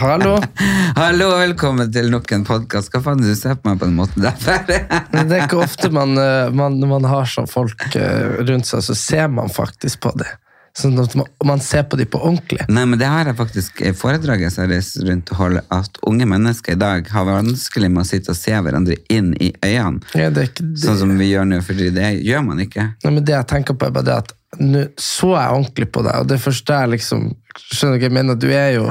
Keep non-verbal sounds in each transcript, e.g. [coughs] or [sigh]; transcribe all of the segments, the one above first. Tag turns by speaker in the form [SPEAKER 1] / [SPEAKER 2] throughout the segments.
[SPEAKER 1] Hallo.
[SPEAKER 2] Hallo, velkommen til nok en podkast. Hva faen, du ser på meg på den måten der?
[SPEAKER 1] Det er ikke ofte man, eh, man, man har sånn folk eh, rundt seg, så ser man faktisk på det. Sånn at man, man ser på de på ordentlig.
[SPEAKER 2] [laughs] Nei, men det har jeg faktisk i foredraget som jeg reiser rundt og holder, at unge mennesker i dag har vanskelig med å sitte og se hverandre inn i øynene,
[SPEAKER 1] Ja, det er ikke det.
[SPEAKER 2] sånn som vi gjør nå, fordi det gjør man ikke.
[SPEAKER 1] Nei, men det jeg tenker på er bare det at nå så jeg ordentlig på deg, og det første er liksom Skjønner du hva jeg mener? Du er jo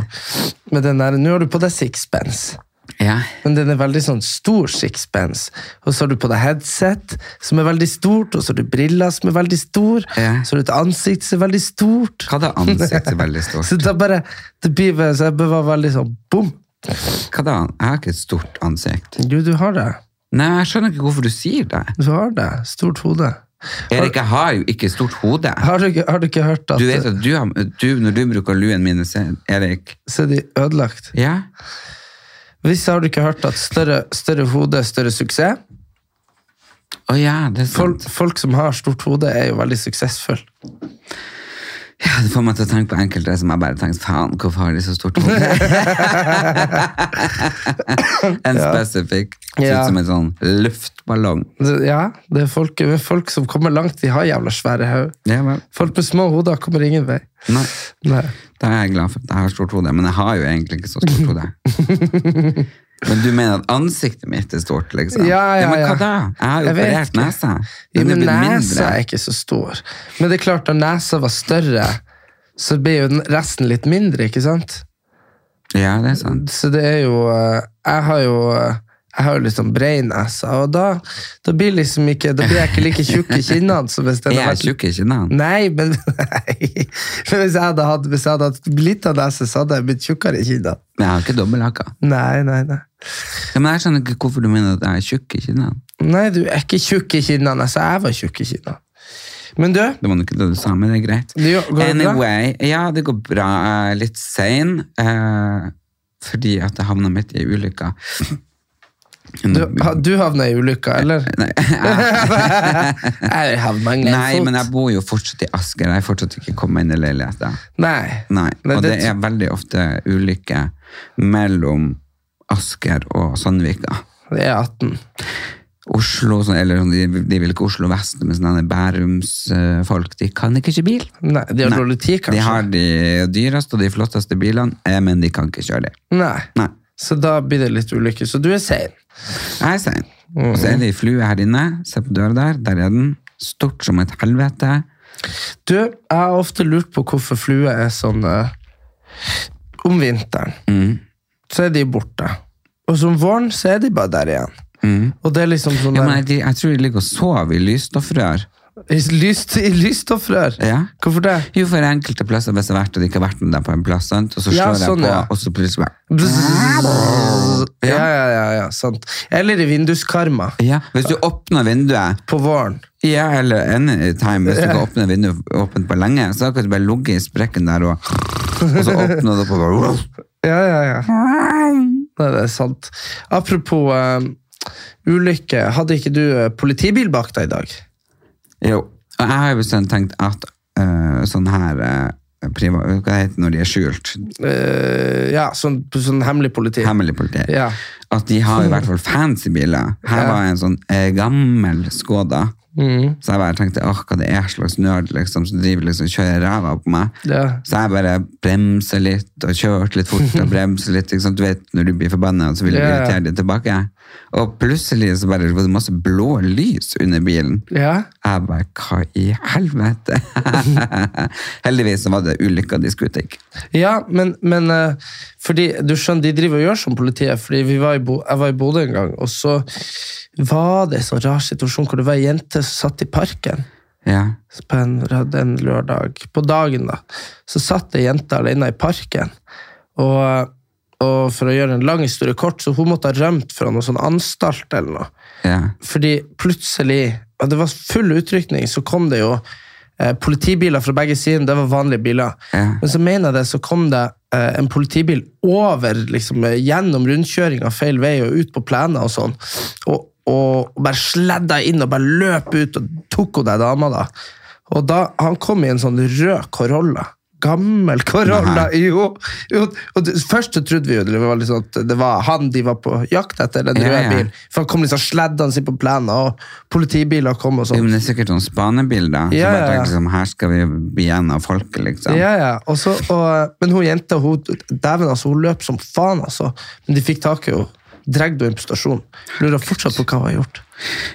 [SPEAKER 1] med den der Nå har du på deg sixpence.
[SPEAKER 2] Ja.
[SPEAKER 1] Men den er veldig sånn stor sixpence. Og så har du på deg headset, som er veldig stort, og så har du briller, som er veldig stor,
[SPEAKER 2] Ja.
[SPEAKER 1] så har du et ansikt som er veldig stort.
[SPEAKER 2] Hva da ansiktet er veldig
[SPEAKER 1] [laughs] Så
[SPEAKER 2] stort?
[SPEAKER 1] da bare, det blir bare, så jeg bare var veldig sånn, bom!
[SPEAKER 2] Hva da? Jeg har ikke et stort ansikt.
[SPEAKER 1] Jo, du har det.
[SPEAKER 2] Nei, jeg skjønner ikke hvorfor du sier det.
[SPEAKER 1] Du har det. Stort hode.
[SPEAKER 2] Erik, jeg har jo ikke stort hode.
[SPEAKER 1] Har du, ikke- har du ikke hørt at,
[SPEAKER 2] Du vet at du, har, du når du bruker luen min, så- Erik
[SPEAKER 1] så er de ødelagt?
[SPEAKER 2] Ja?
[SPEAKER 1] Hvis har du ikke hørt at større, større hode, større suksess?
[SPEAKER 2] Å ja, det er
[SPEAKER 1] Folk,
[SPEAKER 2] sant.
[SPEAKER 1] folk som har stort hode er jo veldig suksessfulle.
[SPEAKER 2] Ja, det får meg til å tenke på enkelte som jeg bare tenker faen, hvorfor har de så stort
[SPEAKER 1] [laughs]
[SPEAKER 2] hode? en spesifikk.
[SPEAKER 1] Ja.
[SPEAKER 2] Ser ut som en sånn luftballong.
[SPEAKER 1] Det- Ja, det er folk, men folk som kommer langt, de har jævla svære høy.
[SPEAKER 2] Ja vel.
[SPEAKER 1] Folk med små hoder kommer ingen vei.
[SPEAKER 2] Nei,
[SPEAKER 1] Nei.
[SPEAKER 2] da er jeg glad for at jeg har stort hode, men jeg har jo egentlig ikke så stort hode.
[SPEAKER 1] [laughs]
[SPEAKER 2] Men du mener at ansiktet mitt er stort, liksom?
[SPEAKER 1] Ja, ja,
[SPEAKER 2] men
[SPEAKER 1] ja.
[SPEAKER 2] hva da? Jeg har jo
[SPEAKER 1] Jeg vet
[SPEAKER 2] operert
[SPEAKER 1] ikke.
[SPEAKER 2] nesa.
[SPEAKER 1] Ja,
[SPEAKER 2] Den er
[SPEAKER 1] men
[SPEAKER 2] blitt mindre.
[SPEAKER 1] nesa er ikke så stor. Men det er klart, når nesa var større, så ble jo den- resten litt mindre, ikke sant?
[SPEAKER 2] Ja, det er sant.
[SPEAKER 1] Så det er jo eh, Jeg har jo eh, jeg har jo liksom brei nese, og da, da blir liksom ikke Da blir jeg ikke like tjukk i kinnene som hvis den
[SPEAKER 2] Jeg
[SPEAKER 1] hadde
[SPEAKER 2] er
[SPEAKER 1] vært
[SPEAKER 2] tjukk i kinnene.
[SPEAKER 1] Nei, men, [laughs] nei. men hvis, jeg hadde hatt, hvis jeg hadde hatt lita nese, så hadde jeg blitt tjukkere i kinnene.
[SPEAKER 2] Men jeg har ikke dobbelthaka.
[SPEAKER 1] Nei, nei, nei.
[SPEAKER 2] Ja, men jeg skjønner ikke hvorfor du mener at jeg er tjukk i kinnene.
[SPEAKER 1] Nei, du er ikke tjukk i kinnene. Altså, jeg var tjukk i kinnene. Men du,
[SPEAKER 2] Det var nok ikke det du sa, men det er greit.
[SPEAKER 1] det jo- går det bra?
[SPEAKER 2] Anyway, ja, det går bra. Jeg er litt sein, eh, fordi at jeg havna midt i ei ulykke.
[SPEAKER 1] Du, [laughs] ha, du havna i ulykka, eller?
[SPEAKER 2] Nei, jeg-
[SPEAKER 1] Jeg havna i en
[SPEAKER 2] [laughs] Nei,
[SPEAKER 1] fot.
[SPEAKER 2] men jeg bor jo fortsatt i Asker. Jeg har fortsatt ikke kommet inn i leiligheta.
[SPEAKER 1] Nei.
[SPEAKER 2] Nei,
[SPEAKER 1] Nei,
[SPEAKER 2] og
[SPEAKER 1] det-
[SPEAKER 2] det er veldig ofte ulykker mellom Asker og Sandvika.
[SPEAKER 1] Det er 18.
[SPEAKER 2] Oslo, sånn- eller sånn, de, de vil ikke Oslo vest, men sånn sånne Bærums-folk, eh, de kan ikke kjøre bil.
[SPEAKER 1] Nei, de har
[SPEAKER 2] Nei.
[SPEAKER 1] dårlig tid, kanskje?
[SPEAKER 2] De har de dyreste og de flotteste bilene, eh, men de kan ikke kjøre dem.
[SPEAKER 1] Nei.
[SPEAKER 2] Nei.
[SPEAKER 1] Så da blir det litt ulykke. Så du er sein.
[SPEAKER 2] Jeg er sein. Og så er
[SPEAKER 1] Mm.
[SPEAKER 2] det ei flue her inne. Se på døra der. Der er den. Stort som et helvete.
[SPEAKER 1] Du, jeg har ofte lurt på hvorfor fluer er sånn eh, Om vinteren så er de borte. Og som våren så er de bare der igjen. Og det er liksom sånn
[SPEAKER 2] Mm. Ja,
[SPEAKER 1] der,
[SPEAKER 2] men jeg, jeg tror de ligger og sover i lysstoffrør.
[SPEAKER 1] I [laughs] lyst- i lysstoffrør.
[SPEAKER 2] Ja.
[SPEAKER 1] Hvorfor det?
[SPEAKER 2] Jo, for enkelte plasser hvis jeg har vært og det ikke har vært noe der på en plass, sant? og så slår
[SPEAKER 1] Ja,
[SPEAKER 2] jeg
[SPEAKER 1] sånn,
[SPEAKER 2] på,
[SPEAKER 1] ja.
[SPEAKER 2] og så plutselig bare
[SPEAKER 1] Ja, ja, ja, ja, sant. Eller i vinduskarma
[SPEAKER 2] ja. Hvis du åpner vinduet
[SPEAKER 1] på våren.
[SPEAKER 2] Ja, eller anytime. Hvis du ikke åpner vinduet åpent på lenge, så kan du bare ligge i sprekken der og, og så åpner du opp og bare
[SPEAKER 1] Ja, ja, ja. Nei, det er sant. Apropos eh, ulykke. Hadde ikke du eh, politibil bak deg i dag?
[SPEAKER 2] Jo. Og jeg har jo bestemt tenkt at eh, sånn her eh, priva, Hva heter det når de er skjult?
[SPEAKER 1] Eh, ja, sånn, sånn hemmelig politi.
[SPEAKER 2] Hemmelig politi.
[SPEAKER 1] Ja.
[SPEAKER 2] At de har i hvert fall fancy biler. Her
[SPEAKER 1] Ja. Mm.
[SPEAKER 2] var en sånn eh, gammel Skoda. Så jeg bare tenkte åh, hva det er slags nerd liksom, som driver liksom kjører ræva på meg.
[SPEAKER 1] Ja.
[SPEAKER 2] Så jeg bare bremser litt og kjørte litt fort
[SPEAKER 1] [laughs]
[SPEAKER 2] og bremser litt. Ikke sant? Du vet når du blir forbanna, så vil du
[SPEAKER 1] Ja, ja.
[SPEAKER 2] irritere deg tilbake. Og plutselig så bare var det masse blå lys under bilen.
[SPEAKER 1] Ja.
[SPEAKER 2] Jeg bare hva i helvete? [laughs] Heldigvis så var det ulykka de skulle til.
[SPEAKER 1] Ja, men, men eh, fordi, du skjønner, de driver og gjør som politiet. fordi vi var i Bo, Jeg var i Bodø en gang, og så var det en sånn rar situasjon hvor det var ei jente som satt i parken
[SPEAKER 2] Ja.
[SPEAKER 1] på en, rød- en lørdag. På dagen, da. Så satt ei jente alene i parken. Og, og for å gjøre en lang historie kort, så hun måtte ha rømt fra noe sånn anstalt eller noe.
[SPEAKER 2] ja.
[SPEAKER 1] Fordi plutselig, og det var full utrykning, så kom det jo eh, politibiler fra begge sider, det var vanlige biler.
[SPEAKER 2] Ja.
[SPEAKER 1] Men så mener jeg det, så kom det eh, en politibil over, liksom, eh, gjennom rundkjøringa feil vei og ut på plenen og sånn. Og, og, og bare sledda inn og bare løp ut og tok henne der dama da. Og da, han kom i en sånn rød Corolla. Gammel Corolla, [laughs] jo! jo. Og det, først så trodde vi jo det var, liksom at det var han de var på jakt etter, eller en
[SPEAKER 2] Ja,
[SPEAKER 1] rød
[SPEAKER 2] ja.
[SPEAKER 1] bil. For han kom liksom sleddende inn på plenen, og politibiler kom og
[SPEAKER 2] Jo,
[SPEAKER 1] sånn.
[SPEAKER 2] men det er sikkert noen spanebilder.
[SPEAKER 1] Ja,
[SPEAKER 2] Ja, bare
[SPEAKER 1] ja, ja.
[SPEAKER 2] tenkte liksom, her skal vi bli igjen av folket, liksom.
[SPEAKER 1] Ja, ja. Og så, og, men hun jenta, hun, dæven, altså, hun løp som faen, altså. Men de fikk tak i henne. Dreg henne inn på stasjonen. Lurer fortsatt på hva hun har gjort.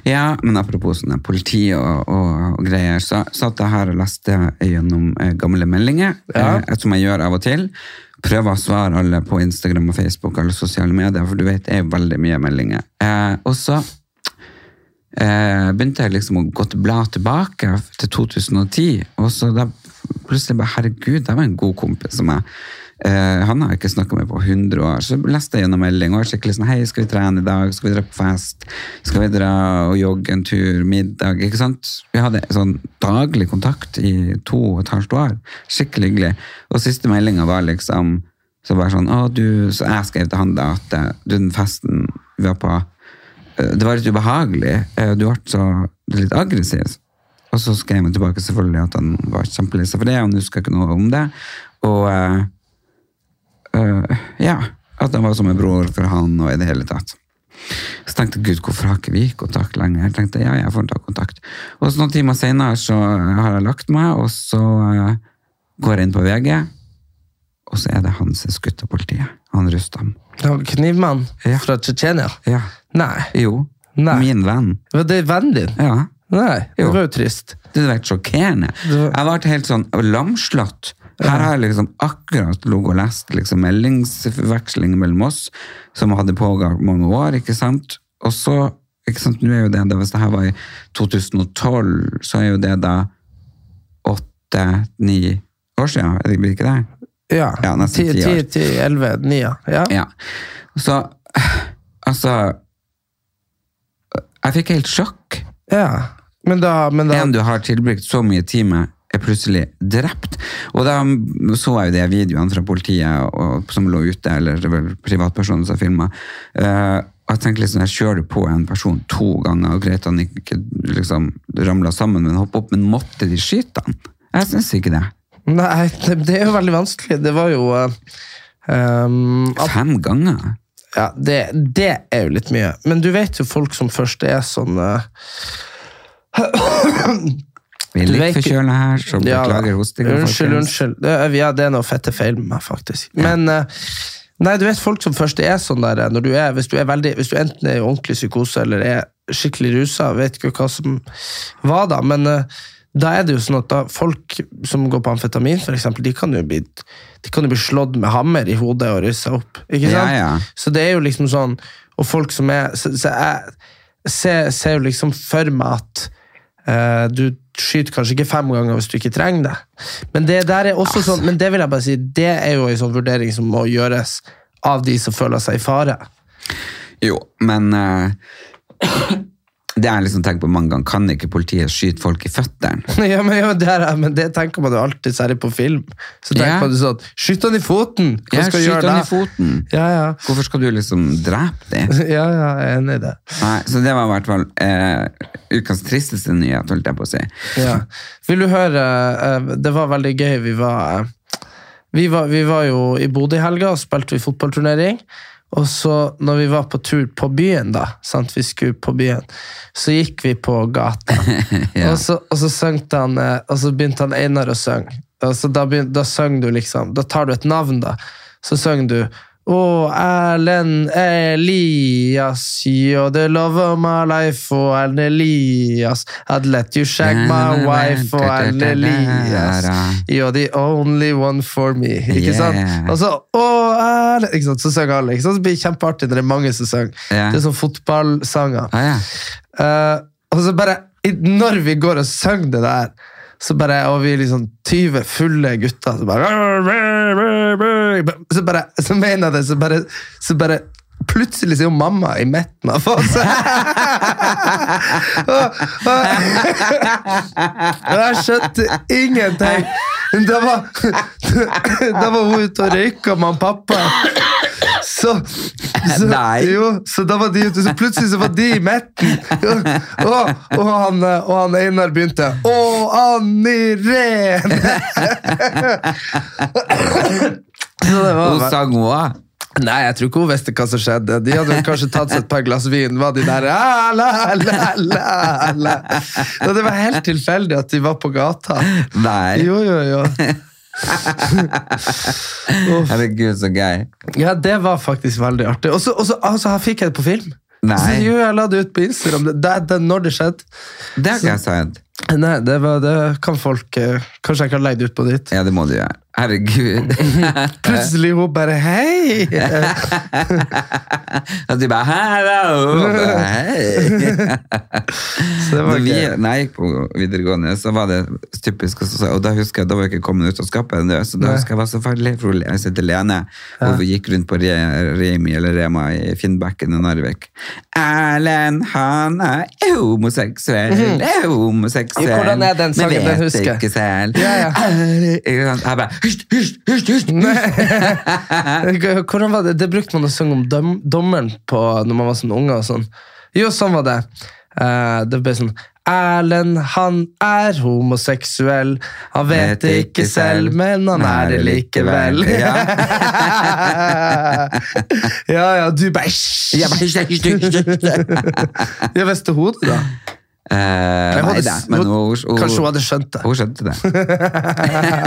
[SPEAKER 2] Ja, men apropos sånne politi og, og, og greier, så satt jeg her og leste gjennom eh, gamle meldinger,
[SPEAKER 1] Ja.
[SPEAKER 2] eh, som jeg gjør av og til. Prøver å svare alle på Instagram og Facebook alle sosiale medier, for du vet, det er jo veldig mye meldinger. Eh, og så eh, begynte jeg liksom å gå til bla tilbake til 2010, og så da plutselig bare, herregud, det var en god kompis som jeg eh, han har jeg ikke snakket med på 100 år, så leste jeg gjennom melding og var skikkelig sånn, hei, skal vi trene i dag, skal vi dra på fest, skal vi dra og jogge en tur, middag, ikke sant? Vi hadde sånn daglig kontakt i to og et halvt år, skikkelig hyggelig. Og siste meldingen var liksom, så bare sånn, å du, så jeg skrev til han da at eh, du, den festen vi var på, Eh, det var litt ubehagelig. Eh, Du ble så litt aggressiv. Og så skrev han tilbake selvfølgelig at han var kjempelei seg for det, han huska ikke noe om det. Og eh, eh, ja, at han var som en bror for han og i det hele tatt. Så tenkte jeg, gud, hvorfor har ikke vi kontakt lenger? Jeg tenkte, ja, jeg får ta kontakt. Og så noen timer senere så eh, har jeg lagt meg, og så eh, går jeg inn på VG, og så er det han som er skutt av politiet. Han Rustam.
[SPEAKER 1] Det var Knivmann
[SPEAKER 2] Ja.
[SPEAKER 1] fra Tsjetsjenia.
[SPEAKER 2] Ja.
[SPEAKER 1] Nei.
[SPEAKER 2] Jo.
[SPEAKER 1] Nei.
[SPEAKER 2] Min venn.
[SPEAKER 1] Var det vennen din?
[SPEAKER 2] Ja.
[SPEAKER 1] Nei, det
[SPEAKER 2] Jo.
[SPEAKER 1] var jo trist.
[SPEAKER 2] Det hadde vært sjokkerende.
[SPEAKER 1] Det-
[SPEAKER 2] Jeg ble helt sånn lamslått. Her har jeg liksom akkurat ligget og lest liksom meldingsveksling mellom oss, som hadde pågått mange år, ikke sant? Og så, ikke sant, nå er jo det da, hvis det her var i 2012, så er jo det da åtte, ni år siden, er det blir ikke det?
[SPEAKER 1] Ja,
[SPEAKER 2] Ja, nesten ti år.
[SPEAKER 1] 10, 11, 9, ja.
[SPEAKER 2] Ja. Så, altså, jeg fikk helt sjokk.
[SPEAKER 1] Ja, men da, men da
[SPEAKER 2] En du har tilbrukt så mye tid med, er plutselig drept. Og da så jeg jo de videoene fra politiet og, som lå ute, eller det var privatpersoner som filma. og jeg tenkte liksom, jeg kjører på en person to ganger, og greit han ikke liksom ramla sammen, men hoppa opp. Men måtte de skyte han? Jeg syns ikke det.
[SPEAKER 1] Nei, [laughs] det, det er jo veldig vanskelig. Det var jo eh, ehm, at,
[SPEAKER 2] Fem ganger?
[SPEAKER 1] ja, det, det er jo litt mye. Men du vet jo folk som først er sånn eh,
[SPEAKER 2] Vi er
[SPEAKER 1] Du
[SPEAKER 2] litt
[SPEAKER 1] vet-
[SPEAKER 2] forkjøla her, så
[SPEAKER 1] ja,
[SPEAKER 2] beklager hostinga.
[SPEAKER 1] Unnskyld, unnskyld. Det, er- ja, det er noe fette feil med meg, faktisk. Men eh, nei, du vet folk som først er sånn der eh, når du er, hvis, du er veldig, hvis du enten er i ordentlig psykose eller er skikkelig rusa, vet ikke hva som var da, men eh, da er det jo sånn at da folk som går på amfetamin, for eksempel, de kan jo bli, de kan jo bli slått med hammer i hodet og ryssa opp. Ikke
[SPEAKER 2] Ja,
[SPEAKER 1] sant?
[SPEAKER 2] ja.
[SPEAKER 1] Så det er jo liksom sånn Og folk som er Så, så jeg ser, ser jo liksom for meg at eh, du skyter kanskje ikke fem ganger hvis du ikke trenger det. Men det der er
[SPEAKER 2] Ah.
[SPEAKER 1] også sånn Men det vil jeg bare si Det er jo en sånn vurdering som må gjøres av de som føler seg i fare. [laughs]
[SPEAKER 2] Jo, men eh, [coughs] det jeg liksom tenker på mange ganger, kan ikke politiet skyte folk i føttene?
[SPEAKER 1] ja, men, ja, men, det er, men det tenker man jo alltid, særlig på film. Så tenker
[SPEAKER 2] Ja.
[SPEAKER 1] man jo sånn Skyt han i foten! Hva
[SPEAKER 2] Jeg
[SPEAKER 1] skal jeg
[SPEAKER 2] skyter
[SPEAKER 1] gjøre
[SPEAKER 2] han i
[SPEAKER 1] da?
[SPEAKER 2] foten.
[SPEAKER 1] Ja, ja. [laughs]
[SPEAKER 2] Hvorfor skal du liksom drepe dem?
[SPEAKER 1] Ja, ja, jeg er enig i det.
[SPEAKER 2] Nei, så det var i hvert fall eh, ukas tristeste nyhet, holdt jeg på å si.
[SPEAKER 1] Ja. Vil du høre eh, Det var veldig gøy. Vi var, eh, vi var, vi var jo i Bodø i helga og spilte vi fotballturnering. Og så, når vi var på tur på byen, da, sant? vi skulle på byen, så gikk vi på gata. og, så, og så søngte han, eh, og så begynte han Einar å synge. Og så da, begyn- da søng du liksom, da tar du et navn, da. Så søng du Å, Erlend Elias, you're the love of my life, og Erlend Elias, I'd let you shag my wife, og Erlend Elias, you're the only one for me. Ikke sant?
[SPEAKER 2] Yeah.
[SPEAKER 1] Og så å, Erlend, ikke sant? Så synger alle. Ikke sant? Så blir det kjempeartig når det er mange som synger.
[SPEAKER 2] Ja.
[SPEAKER 1] Det er sånn fotballsanger.
[SPEAKER 2] Ah, ja.
[SPEAKER 1] Eh, og så bare, i- når vi går og synger det der, så bare, og vi er liksom 20 fulle gutter, så bare, så bare, så mener jeg det, så bare, så bare, plutselig så er jo mamma i midten av
[SPEAKER 2] [laughs]
[SPEAKER 1] oss. Og- og- og jeg skjønte ingenting. Da var, da var hun ute og røyka med han pappa. Så, så,
[SPEAKER 2] Nei.
[SPEAKER 1] jo, så da var de ute, så plutselig så var de i midten. Og, og, han, eh, og han Einar begynte Å, Anni Ren! Så det var-
[SPEAKER 2] Hun sang hun òg.
[SPEAKER 1] Nei, jeg tror ikke hun visste hva som skjedde. De hadde vel kanskje tatt seg et par glass vin. Var de der, «Ah, la, la, la, la. Og det var helt tilfeldig at de var på gata.
[SPEAKER 2] Nei.
[SPEAKER 1] Jo, jo,
[SPEAKER 2] [laughs]
[SPEAKER 1] jo.
[SPEAKER 2] Herregud, så gøy.
[SPEAKER 1] Ja, det var faktisk veldig artig. Og så og så- altså, her fikk jeg det på film.
[SPEAKER 2] Nei.
[SPEAKER 1] Så, jo, jeg la det ut på Instagram. Det, det, det, når det skjedde.
[SPEAKER 2] Det har ikke jeg sett.
[SPEAKER 1] Nei, det, var, det kan folk eh, Kanskje jeg kan legge det ut på ditt.
[SPEAKER 2] Ja, det må du gjøre. Herregud. [laughs]
[SPEAKER 1] Plutselig hun bare Hei!
[SPEAKER 2] At de bare Hello! Bare, Hei.
[SPEAKER 1] Så det
[SPEAKER 2] Da
[SPEAKER 1] var
[SPEAKER 2] vi,
[SPEAKER 1] gøy.
[SPEAKER 2] når jeg gikk på videregående, så var det typisk og så- Og da husker jeg, da var jeg ikke kommet ut av skapet ennå, så da
[SPEAKER 1] Nei.
[SPEAKER 2] husker jeg var så ferdig, for jeg sitter alene, og vi gikk rundt på Re- Remi eller Rema i Finnbekken i Narvik. Erlend, han er homoseksuell, er homoseksuell.
[SPEAKER 1] Jo, Mhm. hvordan er den sangen?
[SPEAKER 2] Men
[SPEAKER 1] Den
[SPEAKER 2] vet
[SPEAKER 1] husker jeg.
[SPEAKER 2] ikke selv.
[SPEAKER 1] Ja, ja.
[SPEAKER 2] Erlend- ikke sant? Jeg bare hysj, hysj, hysj, hysj.
[SPEAKER 1] [laughs] Hvordan var det? Det brukte man å synge om dom, dommeren på, når man var sånn unge. og sånn. Jo, sånn var det. Eh, det ble sånn Erlend, han er homoseksuell. Han vet det ikke selv, men han er det likevel. Ja, [laughs] ja, du bare
[SPEAKER 2] Jeg bare, hysj, hysj, hysj,
[SPEAKER 1] [laughs]
[SPEAKER 2] hysj.
[SPEAKER 1] Jeg visste hodet, da.
[SPEAKER 2] Eh,
[SPEAKER 1] Jeg
[SPEAKER 2] nei
[SPEAKER 1] hadde
[SPEAKER 2] da,
[SPEAKER 1] s-
[SPEAKER 2] men
[SPEAKER 1] nå-
[SPEAKER 2] hun, hun,
[SPEAKER 1] Kanskje hun hadde skjønt det.
[SPEAKER 2] hun skjønte det.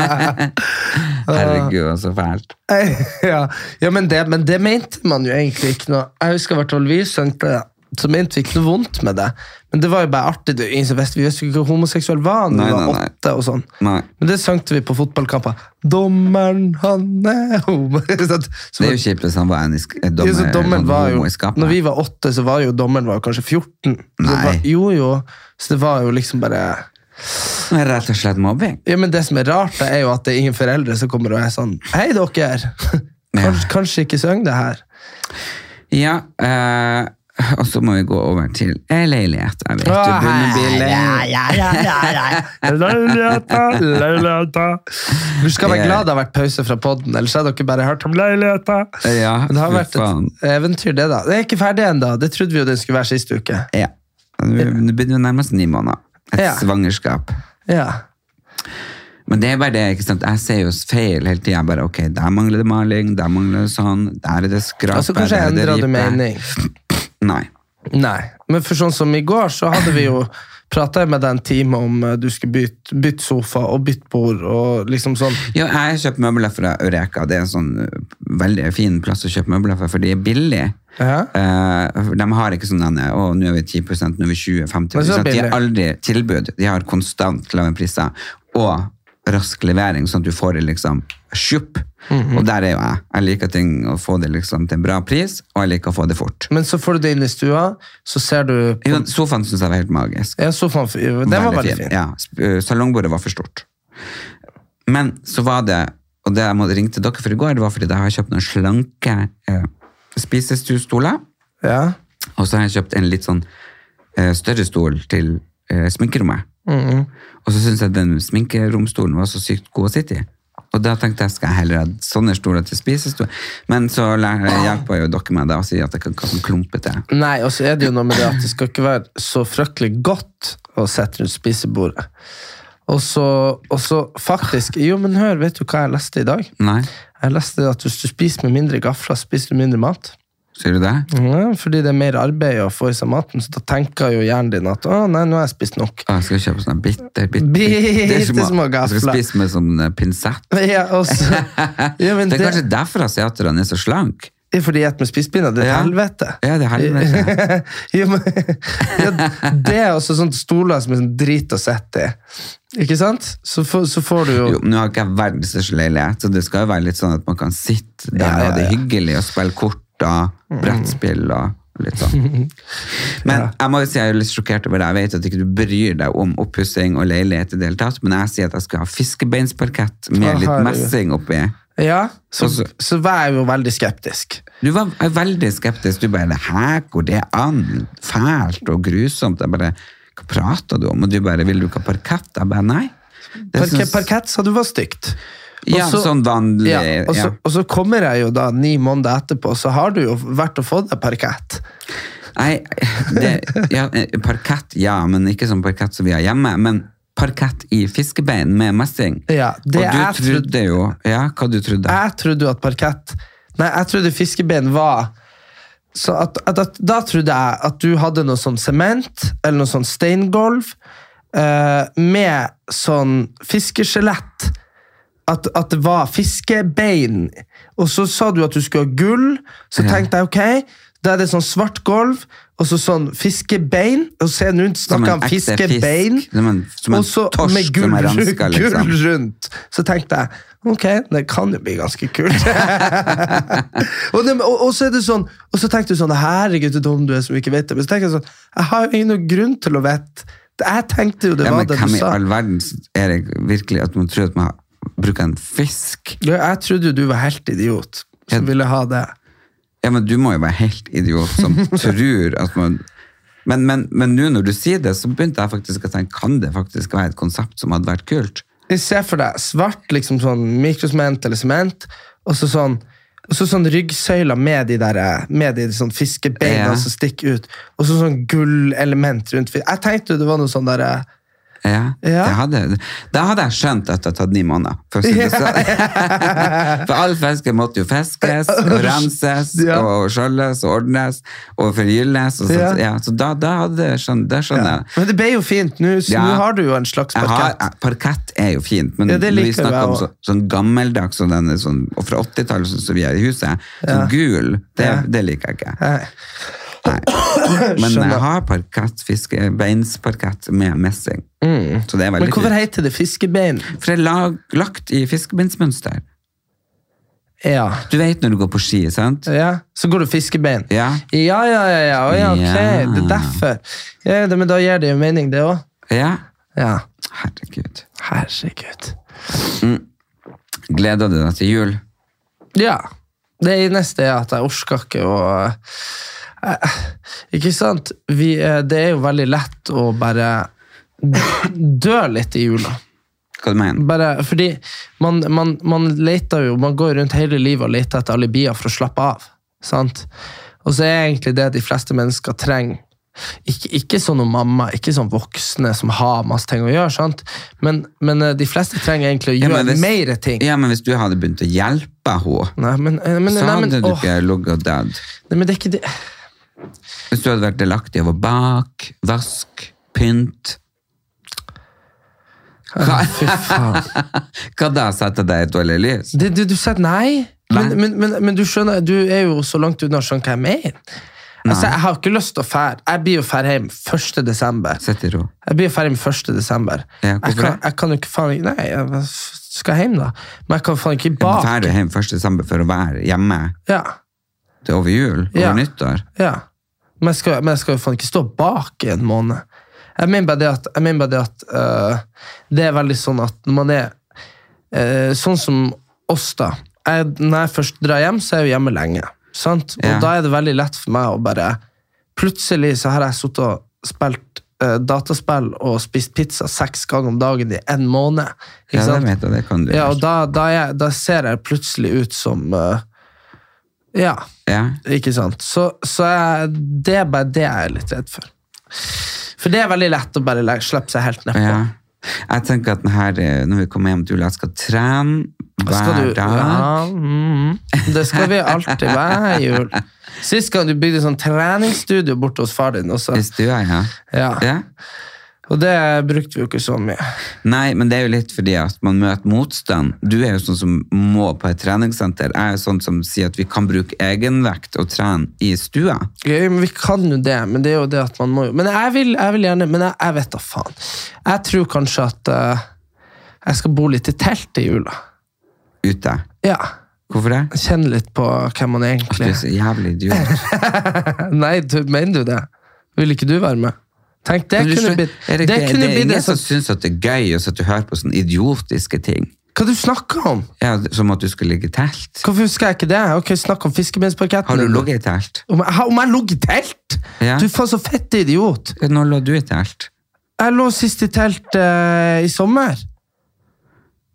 [SPEAKER 1] [laughs]
[SPEAKER 2] Herregud, så fælt.
[SPEAKER 1] ja, ja men, det, men det mente man jo egentlig ikke noe Jeg husker hvert fall vi sønte det, så mente vi ikke noe vondt med det. Men det var jo bare artig. Det, er jo ingen som visste- vi visste jo ikke hvor homoseksuell var han,
[SPEAKER 2] Nei,
[SPEAKER 1] vi var
[SPEAKER 2] nei, nei.
[SPEAKER 1] åtte og sånn.
[SPEAKER 2] Nei.
[SPEAKER 1] Men det sønte vi på fotballkamper. Dommeren, han er homo. [laughs] Så at- så
[SPEAKER 2] Det er
[SPEAKER 1] var-
[SPEAKER 2] jo kjipt hvis han var en i sk- eh, dommer,
[SPEAKER 1] ja, så dommeren
[SPEAKER 2] sånn
[SPEAKER 1] var jo,
[SPEAKER 2] homo i skapet.
[SPEAKER 1] når vi var åtte, så var jo dommeren var jo kanskje 14. Så det
[SPEAKER 2] Nei.
[SPEAKER 1] var, jo, jo. Så det var jo liksom bare
[SPEAKER 2] Det er Rett og slett mobbing.
[SPEAKER 1] Ja, men Det som er rart, det er jo at det er ingen foreldre som kommer og er sånn Hei, dere! [laughs] Kanskje, kanskje ikke syng det her.
[SPEAKER 2] Ja, eh, og så må vi gå over til en leilighet. Jeg vet,
[SPEAKER 1] Å,
[SPEAKER 2] du begynner å bli lei.
[SPEAKER 1] Leiligheta, leiligheta. Du skal være glad det har vært pause fra podden, ellers hadde dere bare hørt om leiligheta.
[SPEAKER 2] Ja,
[SPEAKER 1] Men det har
[SPEAKER 2] fy
[SPEAKER 1] vært
[SPEAKER 2] faen.
[SPEAKER 1] et eventyr, det, da. Det er ikke ferdig ennå. Det trodde vi jo den skulle være sist uke.
[SPEAKER 2] Ja. Nå begynner vi nærmest ni måneder. Et
[SPEAKER 1] Ja.
[SPEAKER 2] svangerskap.
[SPEAKER 1] Ja.
[SPEAKER 2] Men det er bare det, ikke sant? Jeg ser jo feil hele tiden. Jeg bare, ok, der mangler det maling, der mangler det sånn, der er det skrape,
[SPEAKER 1] Altså, kanskje
[SPEAKER 2] der er det
[SPEAKER 1] endra du
[SPEAKER 2] ripe.
[SPEAKER 1] mening.
[SPEAKER 2] Nei.
[SPEAKER 1] Nei. Men for sånn som i går, så hadde vi jo prata med deg en time om eh, du skulle bytte, bytte sofa og bytte bord og liksom sånn.
[SPEAKER 2] Jo, jeg har kjøpt møbler fra Eureka. Det er en sånn uh, veldig fin plass å kjøpe møbler for, for de er billige.
[SPEAKER 1] Ja.
[SPEAKER 2] Eh, for de har ikke sånn denne, å, nå er vi 10 nå er vi 20 50
[SPEAKER 1] Men
[SPEAKER 2] De
[SPEAKER 1] så
[SPEAKER 2] har
[SPEAKER 1] billig.
[SPEAKER 2] aldri tilbud. De har konstant lave priser. Og rask levering, sånn at du får det liksom sjupp.
[SPEAKER 1] Mhm.
[SPEAKER 2] Og der er jo jeg. Jeg liker ting å få det liksom til en bra pris, og jeg liker å få det fort.
[SPEAKER 1] Men så får du det inn i stua, så ser du på
[SPEAKER 2] Jo, sofaen synes jeg var helt magisk.
[SPEAKER 1] Ja, sofaen, den var veldig fin.
[SPEAKER 2] Ja, sp- eh, salongbordet var for stort. Men så var det, og det jeg måtte ringe til dere for i går, det var fordi jeg har kjøpt noen slanke eh, spisestuestoler,
[SPEAKER 1] Ja.
[SPEAKER 2] og så har jeg kjøpt en litt sånn eh, større stol til eh, sminkerommet. Og så synes jeg den sminkeromstolen var så sykt god å sitte i. Og da tenkte jeg, skal jeg heller ha sånne stoler til spisestol? Men så læ- hjelper jo dere meg da å si at jeg kan kalle den klumpete.
[SPEAKER 1] Nei, og så er det jo noe med det at det skal ikke være så fryktelig godt å sette rundt spisebordet. Og så, og så faktisk Jo, men hør, vet du hva jeg leste i dag?
[SPEAKER 2] Nei.
[SPEAKER 1] Jeg leste at hvis du spiser med mindre gafler, spiser du mindre mat.
[SPEAKER 2] Sier du det?
[SPEAKER 1] Ja, fordi det er mer arbeid å få i seg maten, så da tenker jo hjernen din at å nei, nå har jeg spist nok. [laughs]
[SPEAKER 2] Å, jeg Ah, skal kjøpe sånne bitte, bitte,
[SPEAKER 1] Bittesmå
[SPEAKER 2] Jeg
[SPEAKER 1] gafler.
[SPEAKER 2] skal spise med sånn eh, pinsett.
[SPEAKER 1] Ja, og
[SPEAKER 2] [laughs]
[SPEAKER 1] så, [laughs] ja, men
[SPEAKER 2] Det
[SPEAKER 1] det,
[SPEAKER 2] er kanskje derfor asiaterne er så slank.
[SPEAKER 1] er fordi jeg spiser med spisepinner, det er
[SPEAKER 2] Ja.
[SPEAKER 1] helvete.
[SPEAKER 2] Ja, det er helvete.
[SPEAKER 1] [laughs] jo, men, ja, det er også sånne stoler som er sånn drit å sitte i. Ikke sant? Så, får- så får du jo,
[SPEAKER 2] Jo, nå har ikke jeg verdens største leilighet, så det skal jo være litt sånn at man kan sitte der
[SPEAKER 1] Ja, ja,
[SPEAKER 2] og ha det
[SPEAKER 1] ja.
[SPEAKER 2] hyggelig og spille kort og brettspill og litt
[SPEAKER 1] [laughs]
[SPEAKER 2] sånn. Men jeg må jo si jeg er litt sjokkert over det. Jeg vet at ikke du bryr deg om oppussing og leilighet i det hele tatt, men jeg sier at jeg skal ha fiskebeinsparkett
[SPEAKER 1] Å,
[SPEAKER 2] med litt
[SPEAKER 1] herregud.
[SPEAKER 2] messing oppi.
[SPEAKER 1] ja, så,
[SPEAKER 2] Altså-
[SPEAKER 1] så var jeg jo veldig skeptisk.
[SPEAKER 2] Du var er veldig skeptisk. Du bare 'hæ, går det an?' Fælt og grusomt. Jeg bare 'hva prater du om?' Og du bare 'vil du ikke ha parkett?' Jeg bare 'nei'. Det
[SPEAKER 1] Parke,
[SPEAKER 2] syns-
[SPEAKER 1] Parkett sa du var stygt. Og
[SPEAKER 2] ja,
[SPEAKER 1] så-
[SPEAKER 2] sånn vanlig.
[SPEAKER 1] Ja, og, så,
[SPEAKER 2] ja.
[SPEAKER 1] og så kommer jeg jo da ni måneder etterpå, så har du jo vært og fått deg parkett.
[SPEAKER 2] Nei, det, ja, eh, parkett, ja, men ikke sånn parkett som vi har hjemme. Men parkett i fiskebein med messing.
[SPEAKER 1] Ja, det
[SPEAKER 2] og du
[SPEAKER 1] jeg
[SPEAKER 2] trodde jo Ja, hva du trodde?
[SPEAKER 1] Jeg trodde jo at parkett Nei, jeg trodde fiskeben var så at, at, at, Da trodde jeg at du hadde noe sånn sement eller noe sånn steingolv eh, med sånn fiskeskjelett. At, at det var fiskebein. Og så sa du at du skulle ha gull. Så
[SPEAKER 2] Ja.
[SPEAKER 1] tenkte jeg ok, da er det sånn svart gulv og så sånn fiskebein. Og se, nå
[SPEAKER 2] Som en
[SPEAKER 1] snakker han
[SPEAKER 2] ekte fisk,
[SPEAKER 1] fiskebein.
[SPEAKER 2] som en- som en
[SPEAKER 1] og så
[SPEAKER 2] torsk
[SPEAKER 1] med
[SPEAKER 2] som
[SPEAKER 1] gull,
[SPEAKER 2] er renska, liksom.
[SPEAKER 1] gull rundt. Så tenkte jeg ok, det kan jo bli ganske kult.
[SPEAKER 2] [laughs]
[SPEAKER 1] og, det, og, og, så er det sånn, og så tenkte du sånn Herregud, så dum du er som ikke vet det. Men så tenker jeg sånn, jeg har jo ingen noe grunn til å vite. Jeg tenkte jo det
[SPEAKER 2] ja,
[SPEAKER 1] var
[SPEAKER 2] men
[SPEAKER 1] det
[SPEAKER 2] hvem
[SPEAKER 1] du
[SPEAKER 2] i
[SPEAKER 1] sa.
[SPEAKER 2] all verden er det virkelig at man tror at man bruker en fisk?
[SPEAKER 1] Ja, jeg trodde jo du var helt idiot som
[SPEAKER 2] Ja.
[SPEAKER 1] ville ha det.
[SPEAKER 2] Ja, men du må jo være helt idiot
[SPEAKER 1] [laughs]
[SPEAKER 2] som tror at man Men nå men, men nå når du sier det, så begynte jeg faktisk å tenke kan det faktisk være et konsept som hadde vært kult?
[SPEAKER 1] Se for deg svart liksom sånn mikrosement eller sement, og så sånn og så sånn ryggsøyler med de der, med de sånn fiskebeina
[SPEAKER 2] Ja.
[SPEAKER 1] som stikker ut. Og så sånn gullelement rundt. Jeg tenkte jo det var noe sånn der,
[SPEAKER 2] Ja,
[SPEAKER 1] Ja.
[SPEAKER 2] Det hadde, da hadde jeg skjønt at det hadde tatt ni måneder. For, å si det sånn. [laughs] for all fisken måtte jo fiskes, og renses,
[SPEAKER 1] Ja.
[SPEAKER 2] og skjølles, og ordnes, og forgylles. Og
[SPEAKER 1] Ja.
[SPEAKER 2] sånt. Ja, så da, da hadde jeg skjønt, det skjønner jeg.
[SPEAKER 1] Men det ble jo fint. Nå så
[SPEAKER 2] Ja.
[SPEAKER 1] nå har du jo en slags
[SPEAKER 2] Jeg har,
[SPEAKER 1] parkett.
[SPEAKER 2] eh, parkett er jo fint, men
[SPEAKER 1] Ja, det
[SPEAKER 2] når vi
[SPEAKER 1] liker
[SPEAKER 2] snakker
[SPEAKER 1] jeg
[SPEAKER 2] om
[SPEAKER 1] også.
[SPEAKER 2] så, sånn gammeldags og, denne, sånn, og fra 80-tallet sånn som vi har i huset, sånn gul, det,
[SPEAKER 1] Ja.
[SPEAKER 2] det liker jeg ikke.
[SPEAKER 1] Nei. [coughs]
[SPEAKER 2] Men
[SPEAKER 1] Skjønner.
[SPEAKER 2] jeg har parkett, fiske, beinsparkett med messing. Så det er
[SPEAKER 1] Mm. Men
[SPEAKER 2] veldig
[SPEAKER 1] hvorfor
[SPEAKER 2] fint.
[SPEAKER 1] heter det fiskebein?
[SPEAKER 2] For det er lag, lagt i fiskebeinsmønster.
[SPEAKER 1] Ja.
[SPEAKER 2] Du vet når du går på ski, sant?
[SPEAKER 1] ja. Så går det fiskebein.
[SPEAKER 2] Ja.
[SPEAKER 1] Ja, ja, ja. ja. Å, ja ok,
[SPEAKER 2] Ja.
[SPEAKER 1] det er derfor. Ja, det, men da gir det jo mening, det òg.
[SPEAKER 2] Ja.
[SPEAKER 1] Ja.
[SPEAKER 2] Herregud.
[SPEAKER 1] Herregud.
[SPEAKER 2] Gleder du deg til jul?
[SPEAKER 1] Ja. Det eneste er at jeg orker ikke å eh, Ikke sant? Vi, eh, det er jo veldig lett å bare dø litt i jula.
[SPEAKER 2] Hva du mener?
[SPEAKER 1] Bare fordi man, man, man leter jo Man går rundt hele livet og leter etter alibier for å slappe av. Sant? Og så er egentlig det de fleste mennesker trenger. Ikke, ikke sånn om mamma, ikke sånn voksne som har masse ting å gjøre, sant? Men, men eh, de fleste trenger egentlig å
[SPEAKER 2] Ja,
[SPEAKER 1] gjøre
[SPEAKER 2] men hvis-
[SPEAKER 1] mer ting.
[SPEAKER 2] Ja, men hvis du hadde begynt å hjelpe henne,
[SPEAKER 1] Nei, men, eh, men,
[SPEAKER 2] så
[SPEAKER 1] nei, men,
[SPEAKER 2] hadde du
[SPEAKER 1] åh,
[SPEAKER 2] ikke ligget dødd.
[SPEAKER 1] nei, men det er ikke det.
[SPEAKER 2] Hvis du hadde vært delaktig over bak, vask, pynt Hva,
[SPEAKER 1] Fy faen.
[SPEAKER 2] hva da? Sette deg i et dårlig lys?
[SPEAKER 1] Det, du, du sa at nei, men,
[SPEAKER 2] Nei.
[SPEAKER 1] men, men, men du skjønner, du er jo så langt unna å skjønne hva jeg mener. Altså, jeg har jo ikke lyst til å fære. Jeg blir jo fære hjem 1. desember.
[SPEAKER 2] Sett i ro.
[SPEAKER 1] Jeg blir jo ferdig med 1. desember.
[SPEAKER 2] Ja,
[SPEAKER 1] jeg,
[SPEAKER 2] hvorfor
[SPEAKER 1] kan,
[SPEAKER 2] det?
[SPEAKER 1] jeg kan jo ikke faen Nei, jeg f- skal hjem, da. Men jeg kan faen ikke bake.
[SPEAKER 2] Drar du hjem 1. desember for å være hjemme
[SPEAKER 1] Ja,
[SPEAKER 2] til over jul? Over
[SPEAKER 1] Ja.
[SPEAKER 2] nyttår?
[SPEAKER 1] ja. Men jeg skal, men jeg skal jo faen ikke stå bak i en måned. Jeg mener bare det at, jeg mener bare det, at øh, det er veldig sånn at når man er øh, sånn som oss, da jeg, Når jeg først drar hjem, så er jeg jo hjemme lenge. Sant? Og
[SPEAKER 2] Ja.
[SPEAKER 1] da er det veldig lett for meg å bare Plutselig så har jeg sittet og spilt øh, dataspill og spist pizza seks ganger om dagen i en måned. Ikke
[SPEAKER 2] Ja, det
[SPEAKER 1] sant?
[SPEAKER 2] vet jeg, det kan du
[SPEAKER 1] Ja, og
[SPEAKER 2] gjøre.
[SPEAKER 1] da, da, er jeg, da ser jeg plutselig ut som eh, Ja,
[SPEAKER 2] Ja.
[SPEAKER 1] ikke sant? Så, så jeg, det er bare det jeg er litt redd for. For det er veldig lett å bare legge, slippe seg helt nedpå.
[SPEAKER 2] Ja. Jeg tenker at den her, eh, når vi kommer hjem til jul, jeg skal trene
[SPEAKER 1] Skal
[SPEAKER 2] hver
[SPEAKER 1] du-
[SPEAKER 2] dag.
[SPEAKER 1] Ja, mm, mm. det skal vi alltid hver jul. Sist gang du bygde sånn treningsstudio borte hos far din også.
[SPEAKER 2] I stua, ja.
[SPEAKER 1] Ja.
[SPEAKER 2] ja.
[SPEAKER 1] Og det brukte vi jo ikke så mye.
[SPEAKER 2] Nei, men det er jo litt fordi at man møter motstand. Du er jo sånn som må på et treningssenter. Jeg er jo sånn som sier at vi kan bruke egenvekt og trene i stua.
[SPEAKER 1] Ja, men vi kan jo det, men det er jo det at man må jo Men jeg vil, jeg vil gjerne Men jeg, jeg vet da faen. Jeg tror kanskje at eh, jeg skal bo litt i telt i jula.
[SPEAKER 2] Ute.
[SPEAKER 1] Ja.
[SPEAKER 2] Hvorfor det?
[SPEAKER 1] Kjenne litt på hvem man er
[SPEAKER 2] Du
[SPEAKER 1] egentlig
[SPEAKER 2] er så jævlig idiot.
[SPEAKER 1] Nei, du, mener du det? Vil ikke du være med? Tenk, [laughs] det
[SPEAKER 2] Men du
[SPEAKER 1] kunne
[SPEAKER 2] skjønner,
[SPEAKER 1] blitt
[SPEAKER 2] er
[SPEAKER 1] Det
[SPEAKER 2] det, ikke,
[SPEAKER 1] kunne
[SPEAKER 2] det er
[SPEAKER 1] blitt en
[SPEAKER 2] ingen som
[SPEAKER 1] sånn
[SPEAKER 2] syns at det er gøy å sitte og høre på sånne idiotiske ting.
[SPEAKER 1] Hva du snakker om?
[SPEAKER 2] Ja, som at du skulle ligge i telt.
[SPEAKER 1] Hvorfor husker jeg ikke det? Ok, Snakk om fiskebeinsparketten.
[SPEAKER 2] Har du ligget i telt?
[SPEAKER 1] Om jeg, om jeg lå i telt?!
[SPEAKER 2] Ja.
[SPEAKER 1] Du faen så fette idiot!
[SPEAKER 2] Når lå du i telt?
[SPEAKER 1] Jeg lå sist i telt eh, i sommer.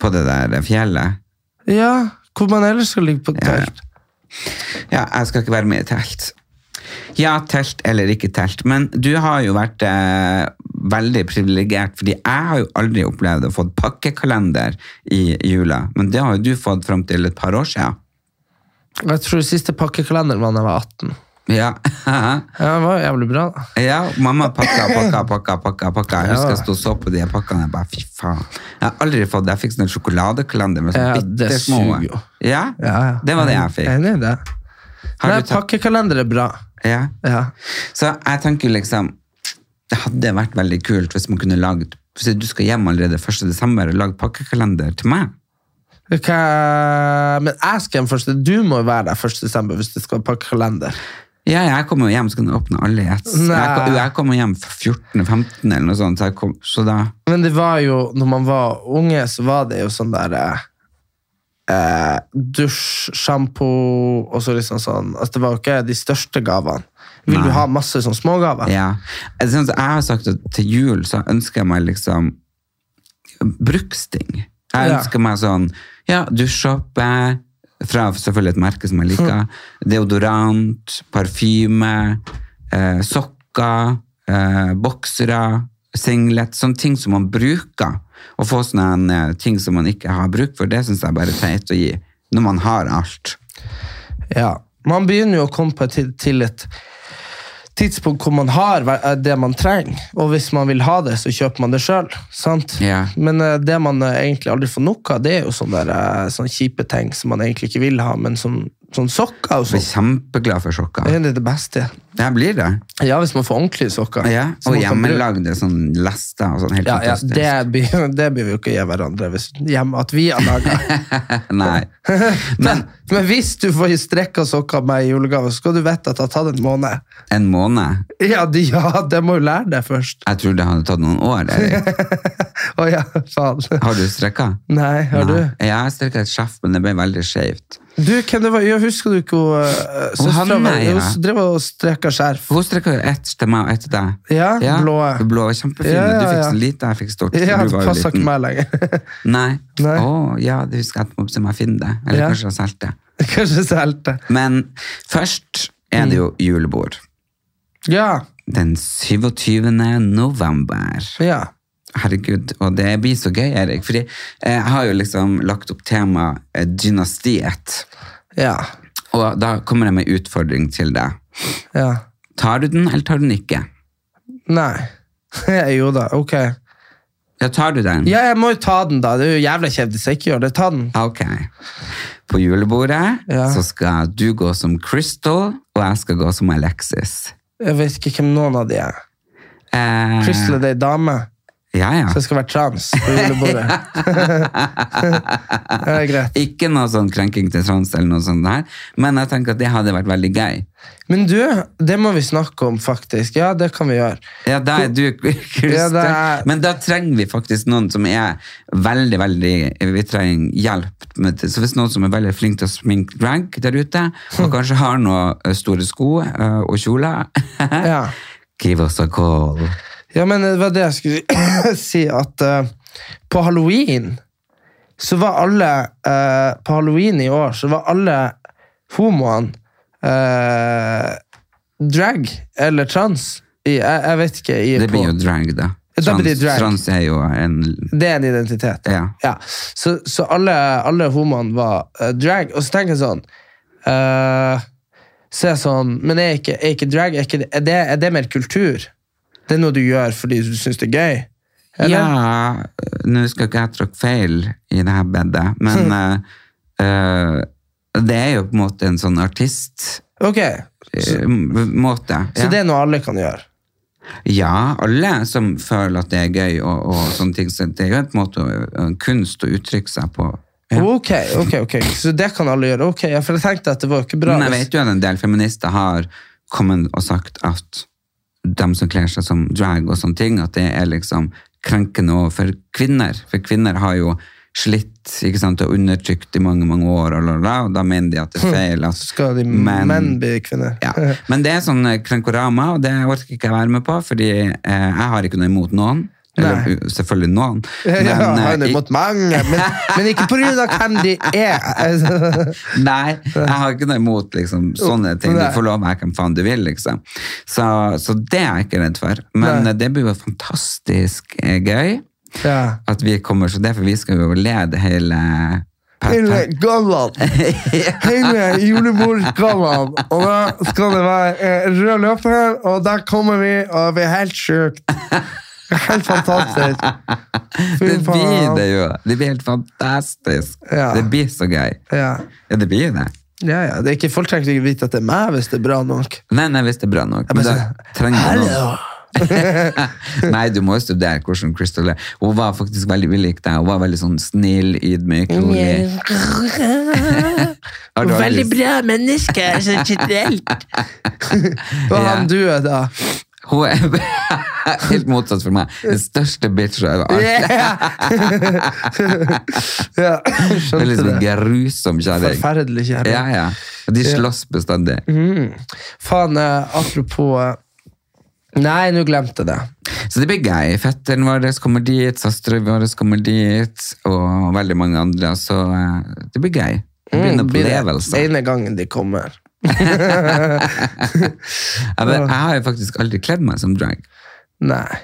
[SPEAKER 2] På det der fjellet?
[SPEAKER 1] Ja, hvor man ellers skal ligge på
[SPEAKER 2] Ja, ja.
[SPEAKER 1] telt.
[SPEAKER 2] Ja, jeg skal ikke være med i telt. Ja, telt eller ikke telt. Men du har jo vært eh, veldig privilegert, fordi jeg har jo aldri opplevd å få pakkekalender i jula. Men det har jo du fått fram til et par år siden.
[SPEAKER 1] Jeg tror siste pakkekalenderen var da jeg var 18.
[SPEAKER 2] Ja. [laughs]
[SPEAKER 1] Ja, det var jævlig bra. da.
[SPEAKER 2] ja, mamma pakka,
[SPEAKER 1] [laughs]
[SPEAKER 2] pakka, pakka, pakka. pakka. Jeg husker
[SPEAKER 1] Ja.
[SPEAKER 2] jeg sto og så på de pakkene. Jeg bare, fy faen. Jeg har aldri fått det. Jeg fikk sånn sjokoladekalender med sånn
[SPEAKER 1] Ja, det
[SPEAKER 2] bittesmå.
[SPEAKER 1] suger jo.
[SPEAKER 2] Ja, det var det jeg
[SPEAKER 1] Jeg er
[SPEAKER 2] fikk.
[SPEAKER 1] Enig i det.
[SPEAKER 2] Har
[SPEAKER 1] Nei,
[SPEAKER 2] du tatt-
[SPEAKER 1] pakkekalender er bra.
[SPEAKER 2] Ja.
[SPEAKER 1] Ja.
[SPEAKER 2] Så jeg tenker liksom Det hadde vært veldig kult hvis man kunne laget hvis du skal hjem allerede 1. desember og lage pakkekalender til meg.
[SPEAKER 1] Ok, Men jeg skal hjem først. Du må jo være der 1. desember hvis det skal være pakkekalender.
[SPEAKER 2] Ja, jeg kommer jo hjem, så kan du åpne alle i ett.
[SPEAKER 1] Nei.
[SPEAKER 2] Jeg kom- jo, Jeg kommer hjem 14.-15. eller noe sånt, så, jeg kom, så da
[SPEAKER 1] Men det var jo, når man var unge, så var det jo sånn der eh, eh, Dusj, sjampo og så liksom sånn altså, Det var jo ikke de største gavene. Vil
[SPEAKER 2] Nei.
[SPEAKER 1] du ha masse sånn smågaver?
[SPEAKER 2] Ja. Jeg, synes- jeg har sagt at til jul så ønsker jeg meg liksom bruksting. Jeg
[SPEAKER 1] Ja.
[SPEAKER 2] ønsker meg sånn ja, dusjsåpe fra selvfølgelig et merke som jeg
[SPEAKER 1] Mm.
[SPEAKER 2] liker. Deodorant, parfyme, eh, sokker, eh, boksere, singlet. Sånne ting som man bruker. Å få sånne eh, ting som man ikke har bruk for, det syns jeg bare er teit å gi. Når man har alt.
[SPEAKER 1] Ja. Man begynner jo å komme på et, tid- til et tidspunkt hvor man har hver- eh, det man trenger, og hvis man vil ha det, så kjøper man det sjøl.
[SPEAKER 2] Ja.
[SPEAKER 1] Men eh, det man eh, egentlig aldri får nok av, det er jo sånne, der, eh, sånne kjipe ting som man egentlig ikke vil ha, men som sånn sokker og
[SPEAKER 2] Jeg
[SPEAKER 1] sånn.
[SPEAKER 2] blir kjempeglad for sokker.
[SPEAKER 1] Det er det beste.
[SPEAKER 2] Jeg blir det.
[SPEAKER 1] Ja, hvis man får ordentlige sokker.
[SPEAKER 2] Ja, og
[SPEAKER 1] Som man kan bruke.
[SPEAKER 2] hjemmelagde sånn lester og sånn. Helt
[SPEAKER 1] Ja, ja,
[SPEAKER 2] fantastisk.
[SPEAKER 1] det, blir, [laughs] det blir vi jo ikke gi hverandre hvis, hjem, at vi har laga.
[SPEAKER 2] [laughs] Nei.
[SPEAKER 1] Men, men hvis du får strekka sokker av meg i julegave, så skal du vite at det har tatt en måned.
[SPEAKER 2] En måned.
[SPEAKER 1] Ja, de, ja, [laughs] det må jo lære det først. [laughs]
[SPEAKER 2] Jeg tror det hadde tatt noen år. Erik.
[SPEAKER 1] Å ja, faen.
[SPEAKER 2] Har du strekka?
[SPEAKER 1] Nei, har du?
[SPEAKER 2] Nei. Ja, jeg strekka et skeff, men det ble veldig skjevt.
[SPEAKER 1] Du, hvem det var? Jeg husker du ikke hun uh, søstera
[SPEAKER 2] Hanne,
[SPEAKER 1] vår?
[SPEAKER 2] ja.
[SPEAKER 1] Hun drev og streka skjerf.
[SPEAKER 2] Hun strekka jo ett til meg og ett til deg.
[SPEAKER 1] Ja, blå.
[SPEAKER 2] det Blå var kjempefine.
[SPEAKER 1] Ja, ja,
[SPEAKER 2] Du fikk
[SPEAKER 1] ja.
[SPEAKER 2] så lite, jeg fikk stort. for
[SPEAKER 1] [laughs] Ja,
[SPEAKER 2] du
[SPEAKER 1] det
[SPEAKER 2] var jo
[SPEAKER 1] passer ikke
[SPEAKER 2] liten.
[SPEAKER 1] meg lenger. [laughs]
[SPEAKER 2] Nei.
[SPEAKER 1] Nei.
[SPEAKER 2] Å, ja, det husker jeg etterpå, så må jeg finne det. Eller
[SPEAKER 1] Ja.
[SPEAKER 2] kanskje jeg har solgt det.
[SPEAKER 1] Kanskje solgte.
[SPEAKER 2] Men først er det jo julebord.
[SPEAKER 1] Ja.
[SPEAKER 2] Den 27. november.
[SPEAKER 1] ja.
[SPEAKER 2] Herregud, og det blir så gøy, Erik. Fordi jeg har jo liksom lagt opp tema eh, dynastiet.
[SPEAKER 1] Ja.
[SPEAKER 2] Og da kommer jeg med utfordring til deg.
[SPEAKER 1] Ja.
[SPEAKER 2] Tar du den, eller tar du den ikke?
[SPEAKER 1] Nei. [laughs] jo da, ok.
[SPEAKER 2] Ja, tar du den?
[SPEAKER 1] Ja, jeg må jo ta den, da. Det er jo jævla kjedelig hvis jeg ikke gjør det. Ta den.
[SPEAKER 2] Ok. På julebordet
[SPEAKER 1] Ja.
[SPEAKER 2] så skal du gå som Crystal, og jeg skal gå som Alexis.
[SPEAKER 1] Jeg vet ikke hvem noen av de er.
[SPEAKER 2] Eh,
[SPEAKER 1] Crystal det er ei dame,
[SPEAKER 2] Ja, ja.
[SPEAKER 1] så jeg skal være trans på julebordet. [laughs] det er greit.
[SPEAKER 2] Ikke noe sånn krenking til trans eller noe sånt der, men jeg tenker at det hadde vært veldig gøy.
[SPEAKER 1] Men du, det må vi snakke om, faktisk. Ja, det kan vi gjøre.
[SPEAKER 2] Ja, da er du [laughs] Christian.
[SPEAKER 1] Ja, det er-
[SPEAKER 2] Men da trenger vi faktisk noen som er veldig, veldig Vi trenger hjelp. Med det. Så hvis noen som er veldig flink til å sminke drag der ute,
[SPEAKER 1] Hm.
[SPEAKER 2] og kanskje har noen eh, store sko eh, og kjoler,
[SPEAKER 1] Ja.
[SPEAKER 2] [laughs] give us a call.
[SPEAKER 1] Ja, men det var det jeg skulle [coughs] si, at eh, på halloween så var alle eh, På halloween i år så var alle homoene eh, drag eller trans. I, jeg, jeg vet ikke. I,
[SPEAKER 2] Det
[SPEAKER 1] på,
[SPEAKER 2] blir jo drag, da.
[SPEAKER 1] Da blir det
[SPEAKER 2] Trans,
[SPEAKER 1] drag.
[SPEAKER 2] trans er jo en
[SPEAKER 1] Det er en identitet.
[SPEAKER 2] Ja.
[SPEAKER 1] Så, så alle, alle homoene var eh, drag. Og så tenker jeg sånn eh, Så er jeg sånn Men er ikke, er ikke drag er, ikke, det- er, det, er det mer kultur? Det er noe du gjør fordi du syns det er gøy? Eller?
[SPEAKER 2] Ja, nå skal ikke jeg tråkke feil i det her bedet,
[SPEAKER 1] Hm.
[SPEAKER 2] men eh, eh, det er jo på en måte en sånn artist-måte.
[SPEAKER 1] Ok, Så
[SPEAKER 2] ja.
[SPEAKER 1] det er noe alle kan gjøre?
[SPEAKER 2] ja, alle som føler at det er gøy og, og sånne ting. Så det er jo på en måte en kunst å uttrykke seg på. Ja.
[SPEAKER 1] Ok, ok, ok. Så det kan alle gjøre? Ok, ja, For jeg tenkte at det var ikke bra.
[SPEAKER 2] Men jeg vet jo at en del feminister har kommet og sagt at de som kler seg som drag og sånne ting, at det er liksom krenkende overfor kvinner. For kvinner har jo slitt ikke sant, og undertrykt i mange, mange år, og, la, la, og da mener de at det er feil. At,
[SPEAKER 1] Hm. Skal de
[SPEAKER 2] Men-
[SPEAKER 1] menn bli kvinner? [laughs]
[SPEAKER 2] ja. Men det er sånn eh, krenkorama, og det orker ikke jeg være med på, fordi eh, jeg har ikke noe imot noen. Eller
[SPEAKER 1] Nei.
[SPEAKER 2] uh, selvfølgelig noen.
[SPEAKER 1] Men, [laughs] ja,
[SPEAKER 2] eh,
[SPEAKER 1] han er
[SPEAKER 2] i-
[SPEAKER 1] mot mange,
[SPEAKER 2] [laughs]
[SPEAKER 1] men, men ikke på grunn av hvem de er.
[SPEAKER 2] Nei, jeg har ikke noe imot liksom, sånne ting. Du
[SPEAKER 1] Nei.
[SPEAKER 2] får lov meg hvem faen du vil, liksom. Så, så det er jeg ikke redd for. Men
[SPEAKER 1] Nei.
[SPEAKER 2] eh, det blir jo fantastisk eh, gøy
[SPEAKER 1] Ja.
[SPEAKER 2] at vi kommer så det, for vi skal jo lede hele
[SPEAKER 1] Hele
[SPEAKER 2] Hele [laughs]
[SPEAKER 1] Galvan. Hele julebord Galvan. Og da skal det være eh, rød løper, og der kommer vi, og vi er helt sjukt. Helt fantastisk. Fy
[SPEAKER 2] Det blir
[SPEAKER 1] faen.
[SPEAKER 2] det jo. Det blir helt fantastisk.
[SPEAKER 1] Ja.
[SPEAKER 2] Det blir så gøy.
[SPEAKER 1] Ja.
[SPEAKER 2] Ja, det blir jo det.
[SPEAKER 1] ja, ja. Det er ikke folk trenger ikke vite at det er meg hvis det er bra nok.
[SPEAKER 2] Nei, nei, hvis det er bra nok. Men da
[SPEAKER 1] bare
[SPEAKER 2] trenger du noen.
[SPEAKER 1] Hallo!
[SPEAKER 2] [laughs] Nei, du må jo studere hvordan Crystal er. Hun var faktisk veldig ulik deg. Hun var veldig sånn snill, ydmyk, rolig. Har du aldri-
[SPEAKER 1] bra menneske, så generelt. Hva
[SPEAKER 2] Ja.
[SPEAKER 1] han du er,
[SPEAKER 2] [laughs]
[SPEAKER 1] da?
[SPEAKER 2] [laughs] Hun er helt motsatt for meg. Den største bitcha av alt.
[SPEAKER 1] ja,
[SPEAKER 2] Det er
[SPEAKER 1] skjønte
[SPEAKER 2] liksom en
[SPEAKER 1] det.
[SPEAKER 2] grusom kjerring.
[SPEAKER 1] Forferdelig Mhm. kjærlighet. Mm.
[SPEAKER 2] Ja, ja. Og de slåss bestandig.
[SPEAKER 1] Faen, eh, apropos eh, Nei, nå glemte jeg det.
[SPEAKER 2] Så det blir gøy. Fetteren vår kommer dit, søsteren vår kommer dit, og veldig mange andre. Så eh, det blir gøy. Det blir en
[SPEAKER 1] Mm, blir det
[SPEAKER 2] opplevelse.
[SPEAKER 1] ene gangen de kommer.
[SPEAKER 2] Jeg, vet- jeg har jo faktisk aldri kledd meg som drag.
[SPEAKER 1] Nei.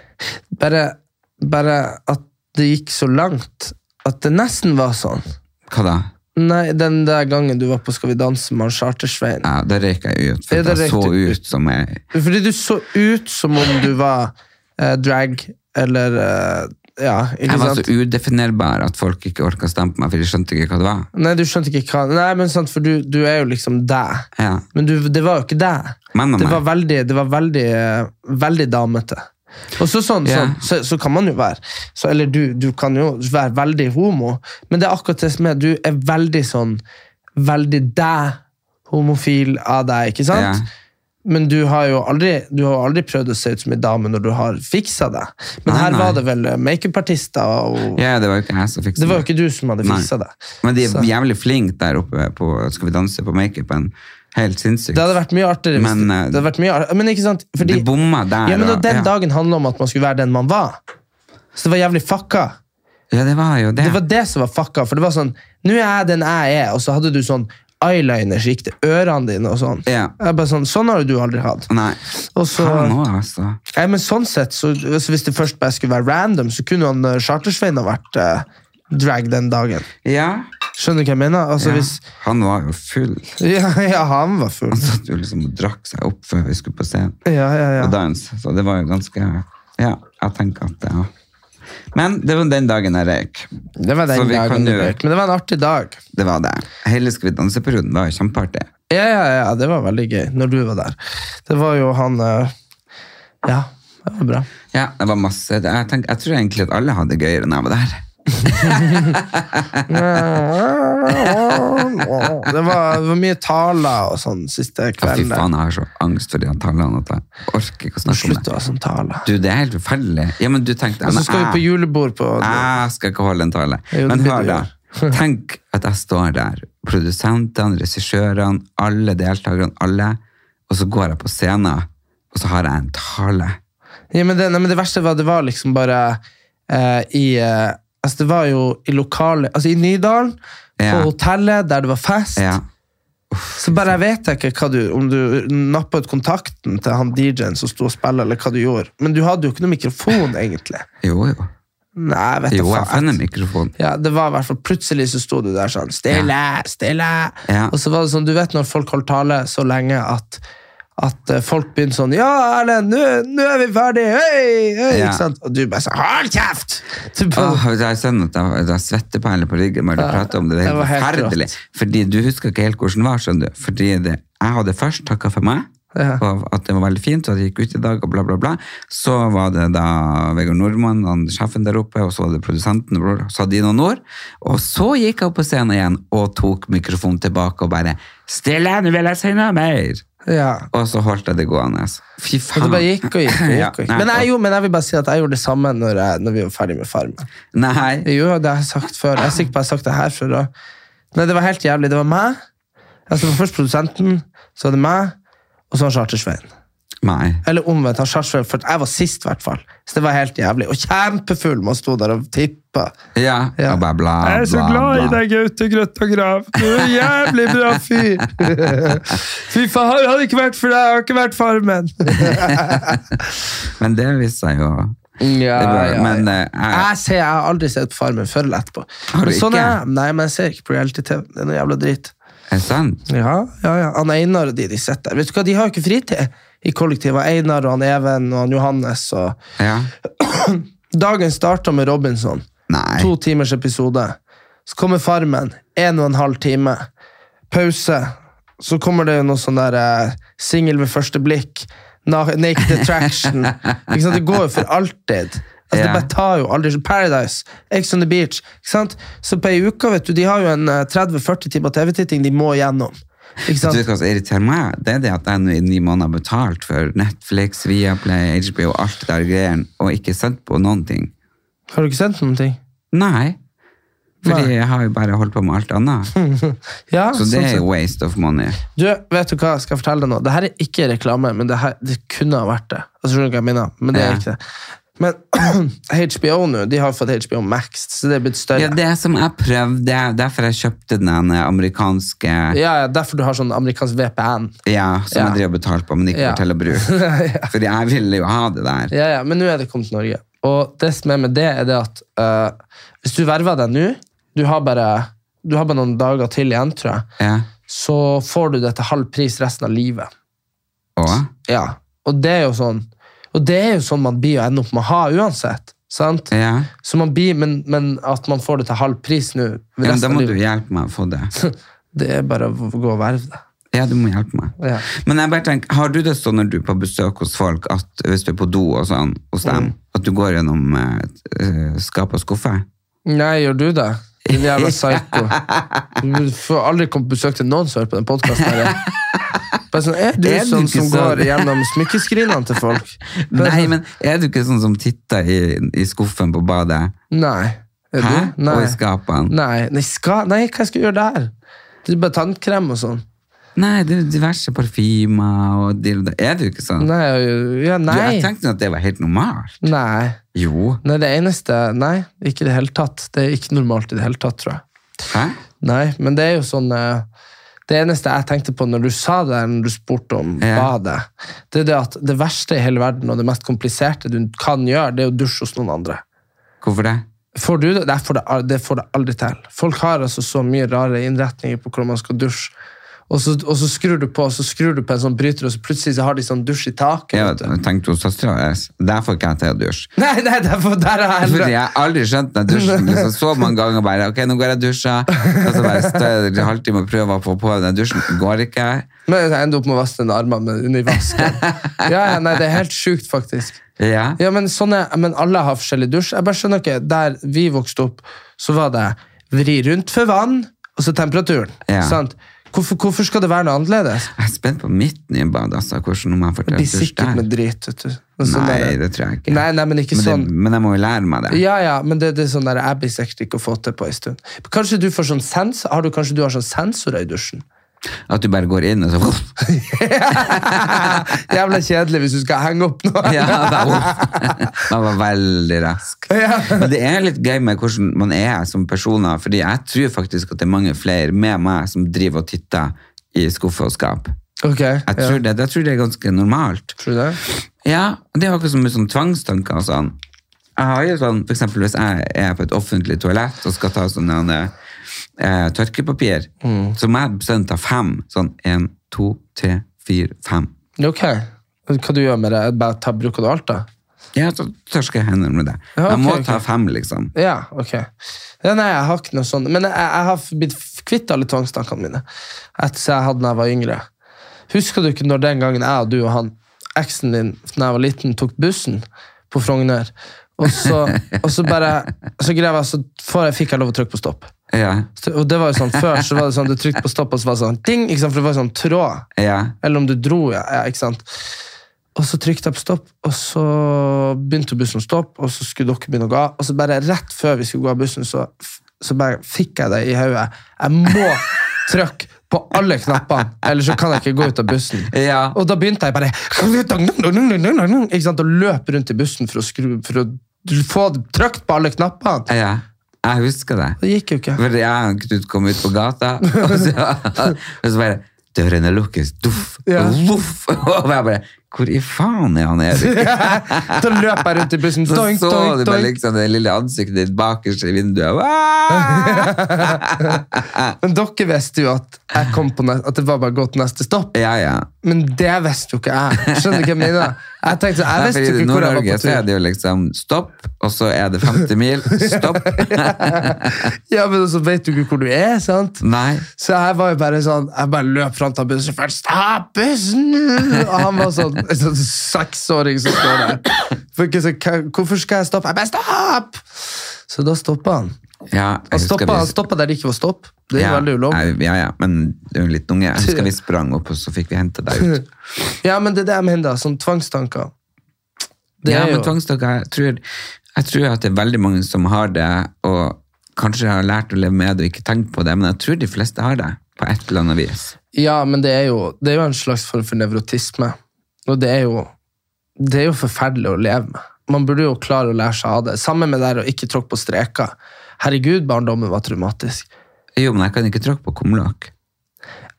[SPEAKER 1] Bare, bare at det gikk så langt at det nesten var sånn.
[SPEAKER 2] Hva da?
[SPEAKER 1] Nei, den der gangen du var på Skal vi danse med han Charter-Svein.
[SPEAKER 2] Ja, da røyka jeg ut. For
[SPEAKER 1] Ja, da
[SPEAKER 2] jeg
[SPEAKER 1] røyk
[SPEAKER 2] så
[SPEAKER 1] du ut.
[SPEAKER 2] ut som jeg
[SPEAKER 1] Fordi du så ut som om du var eh, drag eller eh, Ja, ikke
[SPEAKER 2] Jeg var så
[SPEAKER 1] sant?
[SPEAKER 2] udefinerbar at folk ikke orka å stampe meg, for de skjønte ikke hva det var.
[SPEAKER 1] Nei, du skjønte ikke hva Nei, men sant, for du, du er jo liksom deg.
[SPEAKER 2] Ja.
[SPEAKER 1] Men du, det var jo ikke deg.
[SPEAKER 2] Men, men,
[SPEAKER 1] Det
[SPEAKER 2] men.
[SPEAKER 1] var veldig, det var veldig, eh, veldig damete. Og så sånn,
[SPEAKER 2] Ja.
[SPEAKER 1] sånn så, så kan man jo være så, Eller du, du kan jo være veldig homo, men det er akkurat det som er du er veldig sånn Veldig deg, homofil av deg, ikke sant?
[SPEAKER 2] Ja.
[SPEAKER 1] Men du har jo aldri, du har jo aldri prøvd å se ut som ei dame når du har fiksa deg. Men
[SPEAKER 2] Nei,
[SPEAKER 1] her
[SPEAKER 2] nei.
[SPEAKER 1] var det vel eh, makeupartister og
[SPEAKER 2] Ja, det var jo ikke jeg som fiksa
[SPEAKER 1] Det var jo ikke du som hadde
[SPEAKER 2] Nei.
[SPEAKER 1] fiksa deg.
[SPEAKER 2] Men de er
[SPEAKER 1] Så-
[SPEAKER 2] jævlig flinke der oppe på Skal vi danse på makeupen. Helt sinnssykt.
[SPEAKER 1] Det hadde vært mye artigere. hvis
[SPEAKER 2] Men,
[SPEAKER 1] det,
[SPEAKER 2] eh,
[SPEAKER 1] det hadde vært mye artigere. Men ikke sant? Fordi,
[SPEAKER 2] Det bomma der.
[SPEAKER 1] Ja, men
[SPEAKER 2] og-
[SPEAKER 1] og Den
[SPEAKER 2] ja.
[SPEAKER 1] dagen handla om at man skulle være den man var. Så det var jævlig fucka.
[SPEAKER 2] ja, det var jo det.
[SPEAKER 1] Det var det som var fucka. For det var sånn Nå er jeg den jeg er, og så hadde du sånn eyeliner som gikk til ørene dine og sånn.
[SPEAKER 2] Ja.
[SPEAKER 1] Jeg bare Sånn sånn har jo du aldri hatt.
[SPEAKER 2] Nei.
[SPEAKER 1] Og så,
[SPEAKER 2] Faen nå, altså.
[SPEAKER 1] Nei, men sånn sett, så, så Hvis det først bare skulle være random, så kunne han eh, Charter-Svein ha vært eh, drag den dagen.
[SPEAKER 2] Ja.
[SPEAKER 1] Skjønner du hva jeg mener? Altså,
[SPEAKER 2] ja.
[SPEAKER 1] hvis, [laughs]
[SPEAKER 2] Han var jo full.
[SPEAKER 1] ja, ja, han var
[SPEAKER 2] [laughs]
[SPEAKER 1] full.
[SPEAKER 2] Han satt jo liksom og drakk seg opp før vi skulle på scenen
[SPEAKER 1] Ja, ja, ja.
[SPEAKER 2] og danse, så det var jo ganske Ja, jeg tenker at ja. Men det var den dagen jeg røyk.
[SPEAKER 1] Det
[SPEAKER 2] Så
[SPEAKER 1] var den
[SPEAKER 2] vi
[SPEAKER 1] dagen
[SPEAKER 2] kan
[SPEAKER 1] det
[SPEAKER 2] jo-
[SPEAKER 1] gikk, men det var en artig dag.
[SPEAKER 2] Det var det. Hele Skal vi danse-perioden var jo kjempeartig.
[SPEAKER 1] Ja, ja, ja, det var veldig gøy når du var der. Det var jo han eh, Ja, det var bra.
[SPEAKER 2] Ja, det var masse. Det- Jeg, tenker, jeg tror egentlig at alle hadde det gøyere når jeg var der.
[SPEAKER 1] Det var, det var mye taler og sånn siste
[SPEAKER 2] Ja, fy
[SPEAKER 1] kvelden. der.
[SPEAKER 2] faen, jeg har så angst for de her tallene at jeg orker ikke å snakke om
[SPEAKER 1] Slutt
[SPEAKER 2] det.
[SPEAKER 1] å ha sånn tale.
[SPEAKER 2] Du, det er helt forferdelig. Ja, men du tenkte,
[SPEAKER 1] Og så
[SPEAKER 2] men eh,
[SPEAKER 1] skal vi på
[SPEAKER 2] jeg,
[SPEAKER 1] julebord på
[SPEAKER 2] Ah, jeg skal ikke holde en tale.
[SPEAKER 1] Jo, det
[SPEAKER 2] Men
[SPEAKER 1] blir
[SPEAKER 2] hør
[SPEAKER 1] du
[SPEAKER 2] da,
[SPEAKER 1] [laughs]
[SPEAKER 2] tenk at jeg står der, produsentene, regissørene, alle deltakerne, alle, og så går jeg på scenen, og så har jeg en tale.
[SPEAKER 1] ja, men, det, nei, men det verste var det var liksom bare eh, i eh, Altså, det var jo i lokalet Altså, i Nydalen, på
[SPEAKER 2] Ja.
[SPEAKER 1] hotellet der det var fest.
[SPEAKER 2] Ja.
[SPEAKER 1] Så bare jeg vet ikke hva du, om du nappet kontakten til han DJ-en som sto og spilte, eller hva du gjorde. Men du hadde jo ikke noen mikrofon, egentlig.
[SPEAKER 2] Jo, jo.
[SPEAKER 1] Nei, jeg vet
[SPEAKER 2] Jo, jeg
[SPEAKER 1] da faen.
[SPEAKER 2] fant en mikrofon.
[SPEAKER 1] Ja, det var i hvert fall Plutselig så sto du der sånn Stille, stille
[SPEAKER 2] Ja.
[SPEAKER 1] Og så var det sånn, du vet når folk holder tale så lenge at at eh, folk begynner sånn Ja, Erlend, nå nå er vi ferdige! Hei, hei,
[SPEAKER 2] Ja. Ah.
[SPEAKER 1] Ikke sant? Og du bare sånn Hold kjeft! Du bare,
[SPEAKER 2] Åh, vet du, jeg kjenner sånn at jeg, at jeg svetter perler på ryggen bare du prater om det. Det
[SPEAKER 1] det
[SPEAKER 2] er
[SPEAKER 1] var
[SPEAKER 2] helt
[SPEAKER 1] helt
[SPEAKER 2] forferdelig.
[SPEAKER 1] rått.
[SPEAKER 2] Fordi du husker ikke helt hvordan det var, skjønner du. Fordi det, jeg hadde først takka for meg,
[SPEAKER 1] Ja.
[SPEAKER 2] og at det var veldig fint, og at jeg gikk ut i dag, og bla, bla, bla. Så var det da Vegard Nordmann, han sjefen der oppe, og så var det produsenten, og bla, bla. så hadde de noen ord. Og så gikk jeg opp på scenen igjen og tok mikrofonen tilbake og bare Stille, nå vil jeg si noe mer!
[SPEAKER 1] ja.
[SPEAKER 2] Og så holdt jeg det gående. altså. Fy
[SPEAKER 1] Og
[SPEAKER 2] faen.
[SPEAKER 1] det bare gikk og gikk. og
[SPEAKER 2] Ja,
[SPEAKER 1] gikk, og
[SPEAKER 2] [laughs]
[SPEAKER 1] gikk.
[SPEAKER 2] nei,
[SPEAKER 1] Men, jeg,
[SPEAKER 2] og-
[SPEAKER 1] gjorde- men jeg vil bare si at jeg gjorde det samme når, jeg, når vi var ferdig med Farmen.
[SPEAKER 2] Nei.
[SPEAKER 1] Jo, det har jeg sagt før. Jeg er sikker på jeg har sagt det her før. Da. Nei, det var helt jævlig. Det var meg, altså det var først produsenten, så var det meg, og så han Charter-Svein.
[SPEAKER 2] Nei.
[SPEAKER 1] Eller omvendt, han Charter-Svein, for jeg var sist i hvert fall. Så det var helt jævlig. Og kjempefull, man sto der og tippa.
[SPEAKER 2] Ja.
[SPEAKER 1] Ja.
[SPEAKER 2] Og bare bla, bla, bla.
[SPEAKER 1] deg, Gaute Grøtt og Grav. Du er en jævlig bra fyr.
[SPEAKER 2] [laughs]
[SPEAKER 1] Fy faen, hadde det ikke vært for deg, jeg har ikke vært Farmen.
[SPEAKER 2] Men det viste seg jo
[SPEAKER 1] Ja,
[SPEAKER 2] det var,
[SPEAKER 1] ja,
[SPEAKER 2] Men
[SPEAKER 1] ja.
[SPEAKER 2] eh, jeg,
[SPEAKER 1] Jeg, ser, jeg har aldri sett på Farmen før eller etterpå.
[SPEAKER 2] Har du
[SPEAKER 1] Men sånn
[SPEAKER 2] ikke?
[SPEAKER 1] er jeg. Nei, men jeg ser ikke på reality-TV. Det er noe jævla dritt.
[SPEAKER 2] er det sant?
[SPEAKER 1] Ja, ja, ja. Han Einar og de de sitter der. Vet du hva, De har jo ikke fritid i kollektivet. Einar og han Even og han Johannes. Og...
[SPEAKER 2] Ja.
[SPEAKER 1] Dagen starta med Robinson.
[SPEAKER 2] Nei.
[SPEAKER 1] To timers episode. Så kommer Farmen. En og en halv time. Pause. Så kommer det jo noe sånn der eh, singel ved første blikk. Na naked
[SPEAKER 2] [laughs]
[SPEAKER 1] attraction. ikke sant? Det går jo for alltid. Altså,
[SPEAKER 2] Ja.
[SPEAKER 1] Det bare tar jo aldri Paradise, Ex on the Beach. ikke sant? Så på ei uke vet du, de har jo en eh, 30-40 timer TV-titting de må gjennom. Ikke
[SPEAKER 2] Du
[SPEAKER 1] sant?
[SPEAKER 2] vet hva som irriterer meg? Det er det at jeg nå i ni måneder har betalt for Netflix, Viaplay, HBO, alt det der greiene, og ikke sett på noen ting.
[SPEAKER 1] Har du ikke sendt noen ting?
[SPEAKER 2] Nei. Fordi
[SPEAKER 1] Nei.
[SPEAKER 2] jeg har jo bare holdt på med alt annet.
[SPEAKER 1] Ja,
[SPEAKER 2] Så det
[SPEAKER 1] [laughs] sånn
[SPEAKER 2] er
[SPEAKER 1] sett.
[SPEAKER 2] jo waste of money.
[SPEAKER 1] Du, vet du hva, skal jeg fortelle deg nå? Dette er ikke reklame, men det, her, det kunne ha vært det. Altså, skjønner du hva jeg mener? Men det
[SPEAKER 2] Ja.
[SPEAKER 1] er ikke det. Men [clears throat] HBO nå, de har fått HBO Max, så det er blitt større.
[SPEAKER 2] Ja, det som jeg prøvde, derfor jeg kjøpte den ene amerikanske
[SPEAKER 1] ja, ja, derfor du har sånn amerikansk VPN.
[SPEAKER 2] ja, som
[SPEAKER 1] Ja.
[SPEAKER 2] jeg driver og betaler på, men ikke
[SPEAKER 1] Ja.
[SPEAKER 2] får til å
[SPEAKER 1] [laughs]
[SPEAKER 2] bruke. Fordi jeg ville jo ha det der.
[SPEAKER 1] Ja, ja, men nå er det kommet til Norge. Og det som er med det, er det at eh, hvis du verver deg nå, du har, bare, du har bare noen dager til igjen, tror jeg,
[SPEAKER 2] Ja.
[SPEAKER 1] så får du det til halv pris resten av livet.
[SPEAKER 2] Og?
[SPEAKER 1] Ja, og det er jo sånn, og det er jo sånn man blir å ende opp med å ha uansett, sant?
[SPEAKER 2] Ja.
[SPEAKER 1] Så man blir, men, men at man får det til halv pris nå ved
[SPEAKER 2] Ja, men
[SPEAKER 1] resten
[SPEAKER 2] da
[SPEAKER 1] av
[SPEAKER 2] må du
[SPEAKER 1] livet,
[SPEAKER 2] hjelpe meg å få det.
[SPEAKER 1] Det er bare å gå og verve det.
[SPEAKER 2] Ja, du må hjelpe meg.
[SPEAKER 1] Ja.
[SPEAKER 2] Men jeg bare tenker, har du det sånn når du er på besøk hos folk, at hvis du er på do og sånn, hos
[SPEAKER 1] Mm.
[SPEAKER 2] dem, at du går gjennom eh, eh, skap og skuffe?
[SPEAKER 1] Nei, gjør du det? Din jævla
[SPEAKER 2] [laughs]
[SPEAKER 1] psyko. Du får aldri komme på besøk til noen som hører på den podkasten her. Bare sånn, er du
[SPEAKER 2] Er du
[SPEAKER 1] sånn
[SPEAKER 2] ikke
[SPEAKER 1] som
[SPEAKER 2] sånn?
[SPEAKER 1] går gjennom smykkeskrinene til folk? Bare
[SPEAKER 2] [laughs] Nei,
[SPEAKER 1] sånn,
[SPEAKER 2] men er du ikke sånn som titter i, i skuffen på badet?
[SPEAKER 1] Nei. Er
[SPEAKER 2] Hæ?
[SPEAKER 1] du? Nei.
[SPEAKER 2] Og i skapene?
[SPEAKER 1] Nei. Nei, ska, nei, hva skal jeg gjøre der? Det er bare tannkrem og sånn.
[SPEAKER 2] Nei, det er diverse parfymer og dildo. Er du ikke sånn?
[SPEAKER 1] Nei, ja,
[SPEAKER 2] Du, jeg
[SPEAKER 1] nei.
[SPEAKER 2] tenkte at det var helt normalt.
[SPEAKER 1] Nei.
[SPEAKER 2] Jo.
[SPEAKER 1] Nei, det eneste Nei, ikke i det hele tatt. Det er ikke normalt i det hele tatt, tror jeg.
[SPEAKER 2] Hæ?
[SPEAKER 1] Nei, men det er jo sånn eh, Det eneste jeg tenkte på når du sa det, når du spurte om
[SPEAKER 2] Ja.
[SPEAKER 1] badet, det er det at det verste i hele verden og det mest kompliserte du kan gjøre, det er å dusje hos noen andre.
[SPEAKER 2] Hvorfor det?
[SPEAKER 1] Får du det? Nei, får det, al- det får det aldri til. Folk har altså så mye rare innretninger på hvordan man skal dusje. Og så, og så skrur du på og så skrur du på en sånn bryter, og så plutselig så har de sånn dusj i taket.
[SPEAKER 2] Jeg
[SPEAKER 1] vet du.
[SPEAKER 2] tenkte hos søstera deres. Der får ikke jeg til å dusje.
[SPEAKER 1] Nei, nei, derfor, der er jeg
[SPEAKER 2] Fordi jeg har aldri skjønt den dusjen. Liksom, så mange ganger bare Ok, nå går jeg og dusjer. Og så bare står jeg en halvtime og prøver å få på den dusjen. Går ikke.
[SPEAKER 1] Men jeg ender opp med å vaske den armen med- under
[SPEAKER 2] [laughs]
[SPEAKER 1] vasken. Ja, ja, nei, det er helt sjukt, faktisk.
[SPEAKER 2] Ja.
[SPEAKER 1] Ja, men, sånne, men alle har forskjellig dusj. Jeg bare skjønner ikke, Der vi vokste opp, så var det vri rundt for vann, og så temperaturen.
[SPEAKER 2] Ja.
[SPEAKER 1] Sant? Hvorfor, hvorfor skal det være noe annerledes?
[SPEAKER 2] Jeg er spent på mitt nye bad. Altså, hvordan om jeg får
[SPEAKER 1] Det
[SPEAKER 2] til å
[SPEAKER 1] blir
[SPEAKER 2] dusje
[SPEAKER 1] sikkert med
[SPEAKER 2] der.
[SPEAKER 1] drit. vet du. Og sånn
[SPEAKER 2] Nei,
[SPEAKER 1] der-
[SPEAKER 2] det tror jeg ikke.
[SPEAKER 1] Nei, nei, men ikke
[SPEAKER 2] men,
[SPEAKER 1] sånn.
[SPEAKER 2] det, men jeg må jo lære meg det.
[SPEAKER 1] Ja, ja, men det, det er sånn der jeg blir sikkert ikke å få til på en stund. Kanskje du får sånn sens, har du, kanskje du har sånn sensorer i
[SPEAKER 2] [laughs]
[SPEAKER 1] dusjen?
[SPEAKER 2] At du bare går inn og så [laughs]
[SPEAKER 1] Jævla kjedelig hvis du skal henge opp noe.
[SPEAKER 2] ja, bare, [laughs] Man var veldig rask.
[SPEAKER 1] Ja.
[SPEAKER 2] Men det er litt gøy med hvordan man er som personer, fordi jeg tror faktisk at det er mange flere med meg som driver og titter i skuffer og skap.
[SPEAKER 1] [laughs] Ok,
[SPEAKER 2] Jeg tror,
[SPEAKER 1] ja.
[SPEAKER 2] det, jeg tror det er ganske normalt.
[SPEAKER 1] Tror du det?
[SPEAKER 2] Ja, det er akkurat som med sånn tvangstanker og sånn. Jeg har jo sånn, for eksempel hvis jeg er på et offentlig toalett og skal ta sånn en, eh, tørkepapir,
[SPEAKER 1] Mm.
[SPEAKER 2] så må jeg bestemt ta fem. Sånn, en, to, tre, fire, fem.
[SPEAKER 1] Ok. Hva du gjør med det? Bare ta bruk av det alt, da?
[SPEAKER 2] Ja, så tørsker jeg hendene med det.
[SPEAKER 1] Ja,
[SPEAKER 2] jeg må
[SPEAKER 1] ok, ok.
[SPEAKER 2] ta fem, liksom.
[SPEAKER 1] Ja, ok. Ja, nei, jeg har ikke noe sånt. Men jeg, jeg har blitt f- kvitt alle tvangstankene mine etter som jeg hadde da jeg var yngre. Husker du ikke når den gangen jeg og du og han, eksen din, da jeg var liten, tok bussen på Frogner, og så, og så bare så grev jeg, så får jeg, fikk jeg lov å trykke på stopp.
[SPEAKER 2] Ja,
[SPEAKER 1] Så- Og det var jo sånn, Før så var det sånn, du trykte på stopp, og så var det sånn ding, ikke sant? for det var sånn tråd.
[SPEAKER 2] ja.
[SPEAKER 1] Eller om du dro, ja. ja ikke sant? Og så trykte jeg på stopp, og så begynte bussen å stoppe, og så skulle dere begynne å gå av. Og så bare rett før vi skulle gå av bussen, så, f- så bare fikk jeg det i hodet. Jeg
[SPEAKER 2] [laughs]
[SPEAKER 1] må trykke på alle knappene, ellers så kan jeg ikke gå ut av bussen.
[SPEAKER 2] Ja.
[SPEAKER 1] Og da begynte jeg bare ikke sant? å løpe rundt i bussen for å, skru, for å få trykt på alle knappene.
[SPEAKER 2] ja. Jeg husker det.
[SPEAKER 1] Det gikk jo ikke.
[SPEAKER 2] Fordi jeg og Knut kom ut på gata, og så, og så bare Dørene lukkes, duff,
[SPEAKER 1] Ja.
[SPEAKER 2] voff. Og jeg bare Hvor i faen er han
[SPEAKER 1] [laughs]
[SPEAKER 2] Erik?
[SPEAKER 1] [laughs] Da løp jeg rundt i bussen.
[SPEAKER 2] Så
[SPEAKER 1] Doink,
[SPEAKER 2] så
[SPEAKER 1] doink,
[SPEAKER 2] du bare
[SPEAKER 1] doink.
[SPEAKER 2] liksom det lille ansiktet ditt bakerst i vinduet. Wow!
[SPEAKER 1] Men dere visste jo at, jeg kom på ne- at det var bare å gå til neste stopp.
[SPEAKER 2] Ja, ja.
[SPEAKER 1] Men det visste jo ikke jeg. Skjønner du hva jeg mener? Jeg tenkte, sånn, jeg
[SPEAKER 2] Nei,
[SPEAKER 1] visste
[SPEAKER 2] fordi
[SPEAKER 1] jo
[SPEAKER 2] I
[SPEAKER 1] ikke hvor jeg
[SPEAKER 2] Nord-Norge så
[SPEAKER 1] var
[SPEAKER 2] er
[SPEAKER 1] på tur.
[SPEAKER 2] det jo liksom stopp, og så er det 50 mil.
[SPEAKER 1] [laughs]
[SPEAKER 2] Stopp.
[SPEAKER 1] Ja, men så vet du ikke hvor du er, sant?
[SPEAKER 2] Nei.
[SPEAKER 1] Så jeg var jo bare sånn, jeg bare løp fram til bussen, først, stopp bussen! Og han var sånn, en sånn seksåring som står der. For ikke så, hva- hvorfor skal jeg stoppe? Jeg bare, stopp! Så da stoppet han.
[SPEAKER 2] Ja, jeg
[SPEAKER 1] Han
[SPEAKER 2] husker
[SPEAKER 1] stoppet,
[SPEAKER 2] vi-
[SPEAKER 1] han stoppet der det ikke var stopp. Det er
[SPEAKER 2] ja,
[SPEAKER 1] veldig ulovlig.
[SPEAKER 2] nei, Ja, ja, men det er jo en liten unge. Jeg
[SPEAKER 1] [laughs]
[SPEAKER 2] husker vi sprang opp, og så fikk vi hente deg ut.
[SPEAKER 1] Ja, men det er det jeg mener, sånn tvangstanker. Det
[SPEAKER 2] Ja,
[SPEAKER 1] er
[SPEAKER 2] men
[SPEAKER 1] jo-
[SPEAKER 2] tvangstanker, jeg tror, jeg tror at det er veldig mange som har det, og kanskje har lært å leve med det og ikke tenkt på det, men jeg tror de fleste har det, på et eller annet vis.
[SPEAKER 1] Ja, men det er jo, det er jo en slags form for nevrotisme. Og det er, jo, det er jo forferdelig å leve med. Man burde jo klare å lære seg av det. Samme med det her å ikke tråkke på streker. Herregud, barndommen var traumatisk.
[SPEAKER 2] Jo, men jeg kan ikke tråkke på kumlokk.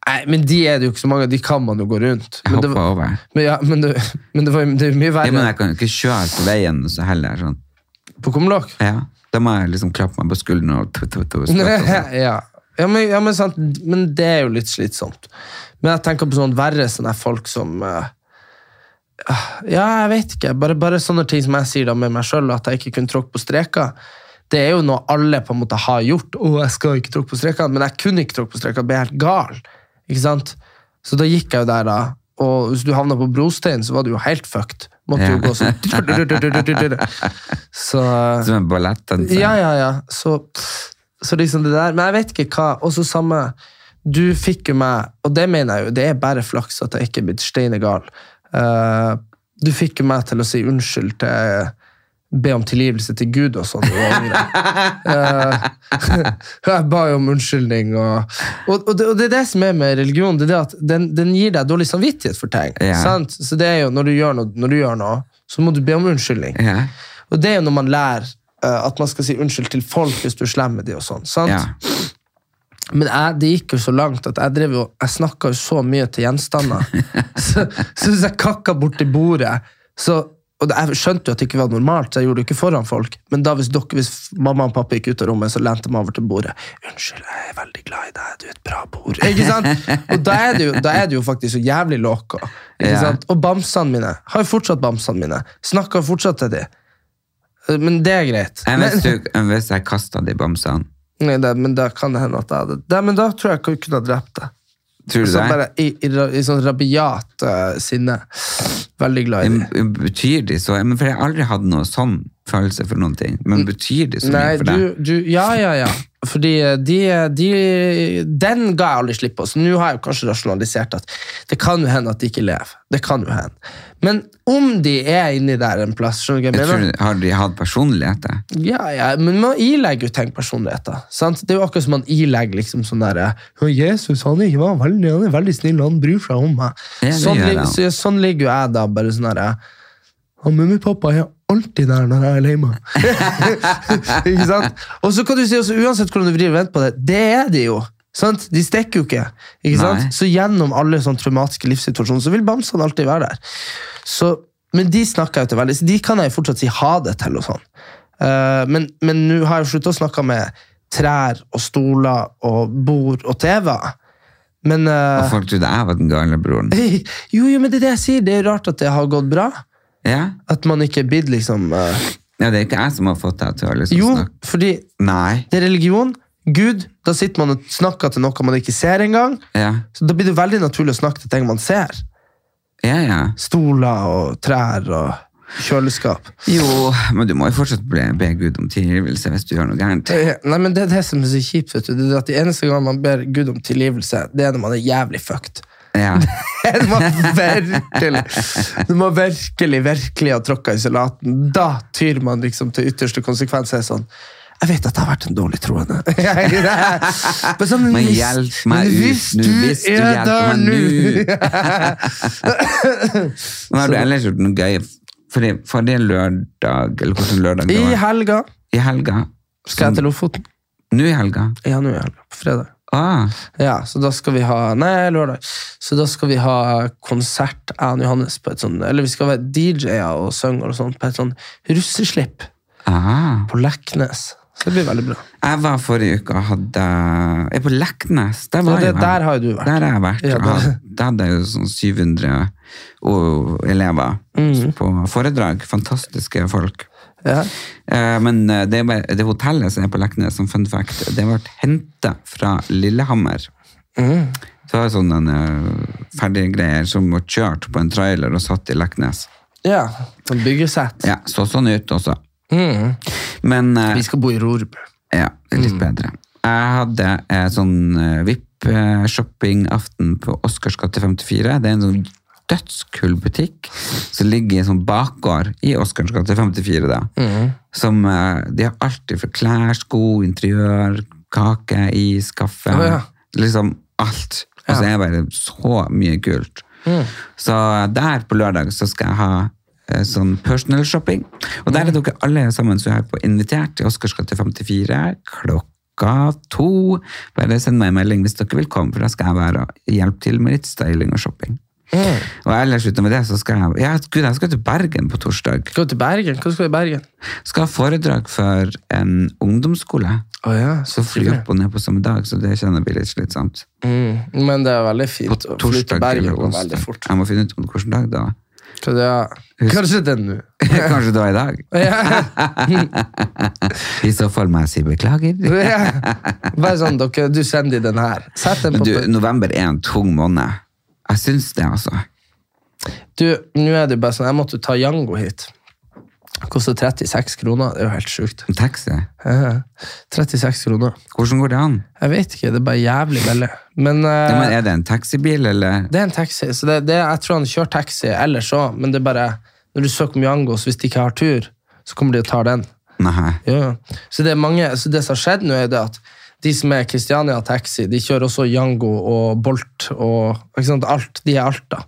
[SPEAKER 1] Nei, men de er det jo ikke så mange av. De kan man jo gå rundt.
[SPEAKER 2] Jeg
[SPEAKER 1] Men det,
[SPEAKER 2] hopper over.
[SPEAKER 1] men ja, men det, men det, var, det er jo mye
[SPEAKER 2] Ja, men
[SPEAKER 1] verre
[SPEAKER 2] jeg kan jo ikke kjøre på veien så heller. Sånn.
[SPEAKER 1] på kumlokk.
[SPEAKER 2] Ja, da må jeg liksom klappe meg på skulderen og tu, tu,
[SPEAKER 1] [laughs]
[SPEAKER 2] tu, skratte og sånn.
[SPEAKER 1] ja. Ja, men, ja, men sant, men det er jo litt slitsomt. Men jeg tenker på sånn verre sånne folk som eh, ah, Ja, jeg vet ikke. Bare, bare sånne ting som jeg sier da med meg sjøl, at jeg ikke kunne tråkke på streker. Det er jo noe alle på en måte har gjort. 'Å, jeg skal ikke tråkke på streker', men jeg kunne ikke tråkke på streker. Jeg ble helt gal. Ikke sant? Så da gikk jeg jo der, da. Og hvis du havna på brostein, så var du jo helt fucked. Måtte jo
[SPEAKER 2] Ja.
[SPEAKER 1] gå
[SPEAKER 2] [laughs]
[SPEAKER 1] sånn [laughs] Så
[SPEAKER 2] Som en ballettdanser.
[SPEAKER 1] ja, ja, ja. Så, så liksom det der. Men jeg vet ikke hva. Og så samme Du fikk jo meg, og det mener jeg jo, det er bare flaks at jeg ikke er blitt steinegal. Eh, du fikk jo meg til å si unnskyld til Be om tilgivelse til Gud og
[SPEAKER 2] [laughs]
[SPEAKER 1] sånn. da jeg var yngre. Eh, [laughs] jeg ba jo om unnskyldning. Og, og, og, det, og det er det som er med religion, det er det at den, den gir deg dårlig samvittighet for ting.
[SPEAKER 2] Ja.
[SPEAKER 1] Sant? Så det er jo, når du, gjør noe, når du gjør noe, så må du be om unnskyldning.
[SPEAKER 2] Ja.
[SPEAKER 1] Og det er jo når man lærer eh, at man skal si unnskyld til folk hvis du er slem med dem og sånn. sant?
[SPEAKER 2] Ja.
[SPEAKER 1] Men jeg, det gikk jo så langt at jeg, drev jo- jeg snakka jo så mye til gjenstander.
[SPEAKER 2] [laughs]
[SPEAKER 1] så, så hvis jeg kakka borti bordet så, og det- Jeg skjønte jo at det ikke var normalt, så jeg gjorde det ikke foran folk. Men da hvis, dere, hvis mamma og pappa gikk ut av rommet, så lente jeg meg over til bordet. 'Unnskyld, jeg er veldig glad i deg. Du er et bra
[SPEAKER 2] [laughs]
[SPEAKER 1] bord.' Ikke sant? Og da er det jo, da er det jo faktisk så jævlig loco. Ikke
[SPEAKER 2] Ja.
[SPEAKER 1] sant? Og bamsene mine. Har jo fortsatt bamsene mine. Snakker fortsatt til dem. Men det er greit.
[SPEAKER 2] Enn
[SPEAKER 1] Men-
[SPEAKER 2] hvis, du, enn hvis jeg kastet de bamsene?
[SPEAKER 1] Nei, det, men da kan det hende at jeg hadde Nei, men da tror jeg ikke jeg kunne ha drept deg.
[SPEAKER 2] Tror du
[SPEAKER 1] Sånn
[SPEAKER 2] det?
[SPEAKER 1] bare i, i, ra- i sånn rabiat eh, sinne. Veldig glad i det.
[SPEAKER 2] Men Betyr de så? Men for jeg har aldri hatt noe sånn følelse for noen ting. Men betyr de så
[SPEAKER 1] Nei,
[SPEAKER 2] mye for deg?
[SPEAKER 1] du, du Ja, ja, ja. Fordi eh, de, de Den ga jeg aldri slipp på, så nå har jeg jo kanskje rasjonalisert at det kan jo hende at de ikke lever. Det kan jo hende. Men om de er inni der en plass, skjønner du
[SPEAKER 2] Jeg
[SPEAKER 1] hva jeg
[SPEAKER 2] tror,
[SPEAKER 1] mener?
[SPEAKER 2] har de hatt personlighet? da?
[SPEAKER 1] Ja, ja, men man ilegger jo ting personligheter. Sant? Det er jo akkurat som man ilegger liksom sånn derre «Ja, Jesus han er, ikke var veldig, han er veldig snill, han bryr seg om meg.
[SPEAKER 2] Ja, det
[SPEAKER 1] Sånn,
[SPEAKER 2] gjør
[SPEAKER 1] lig-
[SPEAKER 2] han.
[SPEAKER 1] så, ja, sånn ligger jo jeg da, bare sånn derre han Mummipappa er alltid der når jeg er lei [laughs] meg. altså, ikke sant? Og så kan du si også, uansett hvordan du vrir og venter på det, det er de jo. Sant? De stikker jo ikke.
[SPEAKER 2] Nei.
[SPEAKER 1] ikke sant? Så gjennom alle sånne traumatiske livssituasjoner så vil bamsene alltid være der. Så, men de snakker jeg jo til veldig, så de kan jeg jo fortsatt si ha det til. og sånn. Eh, men men nå har jeg slutta å snakke med trær og stoler og bord og TV-er. Men eh,
[SPEAKER 2] Og folk trodde jeg var den gale broren.
[SPEAKER 1] [laughs] jo, jo, men det er det jeg sier. Det er rart at det har gått bra.
[SPEAKER 2] Ja?
[SPEAKER 1] At man ikke er blitt liksom eh,
[SPEAKER 2] ja, det er ikke jeg som har fått deg til å liksom
[SPEAKER 1] Jo,
[SPEAKER 2] snakke.
[SPEAKER 1] fordi
[SPEAKER 2] Nei.
[SPEAKER 1] det er religion. Gud, da sitter man og snakker til noe man ikke ser engang.
[SPEAKER 2] Ja,
[SPEAKER 1] Så da blir det veldig naturlig å snakke til ting man ser.
[SPEAKER 2] ja. ja.
[SPEAKER 1] Stoler og trær og kjøleskap.
[SPEAKER 2] Jo, men du må jo fortsatt be, be Gud om tilgivelse hvis du gjør noe gærent.
[SPEAKER 1] Eh, Nei, men Det er det som er så kjipt. vet du. Det er at De eneste gang man ber Gud om tilgivelse, det er når man er jævlig fucked. [laughs]
[SPEAKER 2] Ja.
[SPEAKER 1] Når man virkelig, når man virkelig, virkelig har tråkka i salaten, da tyr man liksom til ytterste konsekvens. Er sånn, jeg vet at jeg har vært en dårlig troende. [laughs] Men sånn,
[SPEAKER 2] Men
[SPEAKER 1] hvis-
[SPEAKER 2] hjelp meg
[SPEAKER 1] men
[SPEAKER 2] ut nå, hvis du
[SPEAKER 1] er der
[SPEAKER 2] hjelper meg nå. Men har du ellers gjort noe gøy? Fordi forrige lørdag, eller hvordan lørdag det
[SPEAKER 1] [laughs] I
[SPEAKER 2] var?
[SPEAKER 1] helga
[SPEAKER 2] I helga.
[SPEAKER 1] skal jeg til
[SPEAKER 2] Sånn.
[SPEAKER 1] Lofoten.
[SPEAKER 2] Nå i helga?
[SPEAKER 1] Ja, nå er helga. På fredag.
[SPEAKER 2] Ah,
[SPEAKER 1] Ja, så da skal vi ha Nei, lørdag. Så da skal vi ha konsert, jeg og Johannes, på et sånn Eller vi skal være DJ-er og synge og sånn, på et sånn russeslipp
[SPEAKER 2] ah.
[SPEAKER 1] på Leknes. Så det blir veldig bra.
[SPEAKER 2] Jeg var forrige uke og hadde Jeg er på Leknes. Der, var
[SPEAKER 1] Ja, det-
[SPEAKER 2] jeg.
[SPEAKER 1] der har jo du vært.
[SPEAKER 2] Der har jeg vært.
[SPEAKER 1] Ja,
[SPEAKER 2] og
[SPEAKER 1] der-
[SPEAKER 2] hadde- Da hadde jeg jo sånn 700 o- elever på foredrag. Fantastiske folk.
[SPEAKER 1] [laughs] Ja.
[SPEAKER 2] Eh, Men eh, det, er bare- det hotellet som er på Leknes, som fun fact, det ble henta fra Lillehammer.
[SPEAKER 1] Mm.
[SPEAKER 2] Så det var sånne eh, ferdige greier som var kjørt på en trailer og satt i Leknes.
[SPEAKER 1] Ja, sånn byggesett. Mm.
[SPEAKER 2] Ja, så sånn ut også. Men eh,
[SPEAKER 1] Vi skal bo i Rorbu.
[SPEAKER 2] Ja, det er
[SPEAKER 1] Mm.
[SPEAKER 2] litt bedre. Jeg hadde eh, sånn eh, VIP-shopping-aften på Oscarsgate 54. Det er en sånn dødskul butikk som ligger i en sånn bakgård i Oscarsgate 54. Da.
[SPEAKER 1] Mm.
[SPEAKER 2] Som, eh, de har alltid for klær, sko, interiør, kake, is, kaffe.
[SPEAKER 1] Å, ja.
[SPEAKER 2] Liksom alt. Altså, det er bare så mye kult. Så der på lørdag så skal jeg ha eh, sånn personal shopping. Og der er dere alle sammen som er på invitert til Oscarsgate 54 klokka to. Bare send meg en melding hvis dere vil komme, for da skal jeg være og hjelpe til med litt styling og shopping.
[SPEAKER 1] Mm.
[SPEAKER 2] Og ellers utover det så skal jeg ja, Gud, jeg skal til Bergen på torsdag.
[SPEAKER 1] Skal du til Bergen? Hva skal du i Bergen?
[SPEAKER 2] Skal ha foredrag for en ungdomsskole.
[SPEAKER 1] Å ja,
[SPEAKER 2] Så fly opp og ned på samme dag, så det kjenner jeg blir litt slitsomt.
[SPEAKER 1] mm, Men det er veldig
[SPEAKER 2] På
[SPEAKER 1] fint å fly til
[SPEAKER 2] torsdag
[SPEAKER 1] Bergen
[SPEAKER 2] eller
[SPEAKER 1] går veldig
[SPEAKER 2] onsdag.
[SPEAKER 1] fort.
[SPEAKER 2] Jeg må finne ut om hvilken dag det var. [laughs]
[SPEAKER 1] Så det er, kanskje det er nå.
[SPEAKER 2] Kanskje det var i dag?
[SPEAKER 1] Ja,
[SPEAKER 2] I så fall må jeg si beklager.
[SPEAKER 1] ja. [laughs] Bare sånn, dere, du sender de den her. Sett den
[SPEAKER 2] Men
[SPEAKER 1] på
[SPEAKER 2] du,
[SPEAKER 1] du,
[SPEAKER 2] november er en tung måned. Jeg syns det, altså.
[SPEAKER 1] nå er det jo bare sånn, jeg måtte ta Django hit. Det Koster 36 kroner, det er jo helt sjukt.
[SPEAKER 2] Taxi.
[SPEAKER 1] Ja, 36 kroner.
[SPEAKER 2] Hvordan går det an?
[SPEAKER 1] Jeg vet ikke, det er bare jævlig veldig. Men, eh,
[SPEAKER 2] Ja, men er det en taxibil, eller?
[SPEAKER 1] Det er en taxi. så det, det, Jeg tror han kjører taxi ellers òg, men det er bare når du søker om Jangos, hvis de ikke har tur, så kommer de og tar den.
[SPEAKER 2] Nei.
[SPEAKER 1] Ja. ja. Så det er mange, så det som har skjedd nå, er det at de som er Christiania Taxi, de kjører også Jango og Bolt og ikke sant, alt. De er alt, da.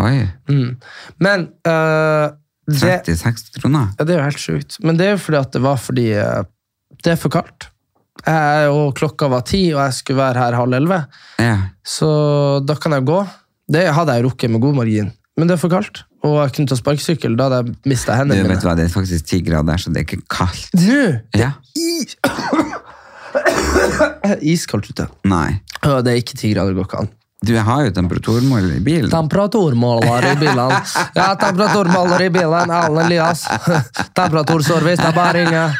[SPEAKER 2] Oi.
[SPEAKER 1] Mm. Men eh, det,
[SPEAKER 2] 36 kroner?
[SPEAKER 1] ja, det er jo helt sjukt. Men det er jo fordi at det var fordi eh, det er for kaldt. Jeg, og klokka var ti, og jeg skulle være her halv elleve.
[SPEAKER 2] Ja.
[SPEAKER 1] Så da kan jeg gå. Det hadde jeg rukket med god margin, men det er for kaldt. Og jeg kunne ta sparkesykkel, da hadde jeg mista
[SPEAKER 2] Du
[SPEAKER 1] hendene
[SPEAKER 2] vet
[SPEAKER 1] mine.
[SPEAKER 2] hva, det er faktisk 10 grader, så det er ikke kaldt.
[SPEAKER 1] Nå!
[SPEAKER 2] Ja?
[SPEAKER 1] Iskaldt ute.
[SPEAKER 2] Nei.
[SPEAKER 1] Å, det er ikke ti grader, det går ikke an.
[SPEAKER 2] Du jeg har jo temperaturmåler i bilen.
[SPEAKER 1] Temperaturmåler i bilen. Ja, temperaturmåler i bilen. Allen Elias. Temperaturservice, det er bare å ringe.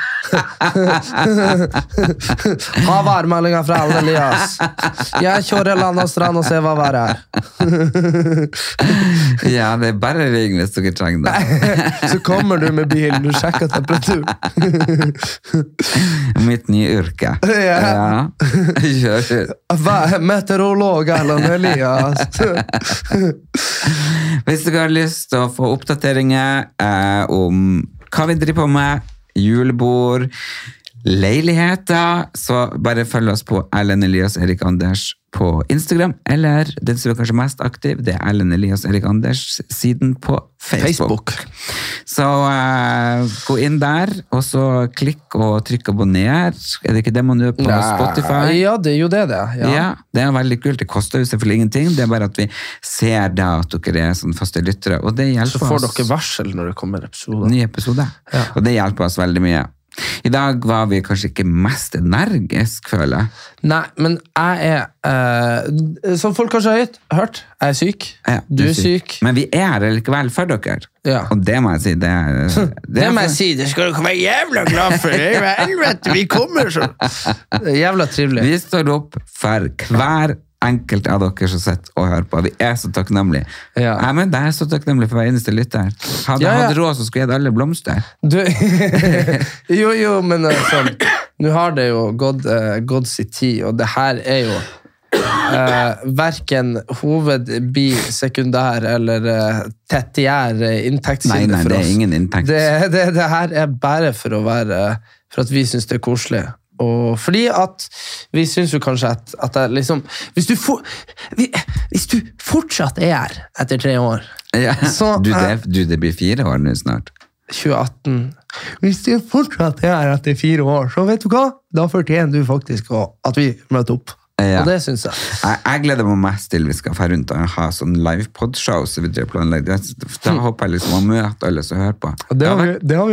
[SPEAKER 1] Ha værmeldinga fra Allen Elias. Jeg kjører land og strand og ser hva været er.
[SPEAKER 2] [laughs] Ja, det er bare ring hvis dere trenger det.
[SPEAKER 1] Så kommer du med bilen, du sjekker temperatur.
[SPEAKER 2] Mitt nye yrke. Ja. [laughs]
[SPEAKER 1] Ja.
[SPEAKER 2] Kjør ut.
[SPEAKER 1] Hva- Meteorolog Erlend Elias.
[SPEAKER 2] Hvis dere har lyst til å få oppdateringer eh, om hva vi driver på med, julebord, leiligheter, så bare følg oss på Erlend Elias Erik Anders på Instagram, eller den som er kanskje mest aktiv, det er Ellen Elias Erik Anders siden på Facebook. Så eh, gå inn der, og så klikk og trykk abonner. Er det ikke det man gjør på Spotify?
[SPEAKER 1] Ja, det er jo det, det.
[SPEAKER 2] Ja.
[SPEAKER 1] Ja.
[SPEAKER 2] det er veldig kult. Det koster jo selvfølgelig ingenting. Det er bare at vi ser da at dere er sånn faste lyttere, og det
[SPEAKER 1] Så
[SPEAKER 2] hjelper
[SPEAKER 1] får
[SPEAKER 2] oss.
[SPEAKER 1] dere varsel når det kommer episoder.
[SPEAKER 2] Ny episode. Og det hjelper oss veldig mye. I dag var vi kanskje ikke mest energisk, føler jeg.
[SPEAKER 1] Nei, men jeg er eh, Som folk kanskje har hørt, hørt, jeg er syk.
[SPEAKER 2] Ja,
[SPEAKER 1] du er syk.
[SPEAKER 2] Men vi er her likevel for dere.
[SPEAKER 1] Ja.
[SPEAKER 2] Og det må jeg si. Det, er-
[SPEAKER 1] [laughs] Det må jeg si, det skal dere være jævla glad for! Det er jo helvete, vi kommer så [laughs] Det er Jævla trivelig.
[SPEAKER 2] Vi står opp for hver enkelt av dere som sitter og hører på. Vi er så takknemlige.
[SPEAKER 1] Ja.
[SPEAKER 2] Jeg, men, jeg er så takknemlig for hver eneste lytter. Hadde jeg
[SPEAKER 1] Ja, ja.
[SPEAKER 2] hatt råd, så skulle jeg gitt alle blomster.
[SPEAKER 1] Du, [laughs] jo, jo, men eh, sånn Nå har det jo gått, eh, gått sin tid, og det her er jo uh, verken hoved, bi, sekundær eller uh, tertiær eh,
[SPEAKER 2] Nei,
[SPEAKER 1] inntektskilde
[SPEAKER 2] nei,
[SPEAKER 1] for
[SPEAKER 2] det er
[SPEAKER 1] oss.
[SPEAKER 2] ingen inntekt.
[SPEAKER 1] Det, det, det her er bare for å være eh, For at vi syns det er koselig. Og fordi at vi syns jo kanskje at, at det er liksom hvis du, for, vi, hvis du fortsatt er her etter tre år
[SPEAKER 2] Ja.
[SPEAKER 1] Så,
[SPEAKER 2] du,
[SPEAKER 1] eh,
[SPEAKER 2] det, du, det blir fire år nå snart.
[SPEAKER 1] 2018 Hvis du fortsatt er her etter fire år, så vet du hva? Da fortjener du faktisk å- at vi møter opp.
[SPEAKER 2] Ja.
[SPEAKER 1] Og det syns jeg.
[SPEAKER 2] Jeg, jeg gleder meg mest til vi skal fære rundt og ha sånn live-podshow. som vi driver og planlegger. Det- Da håper jeg liksom å møte alle som hører på.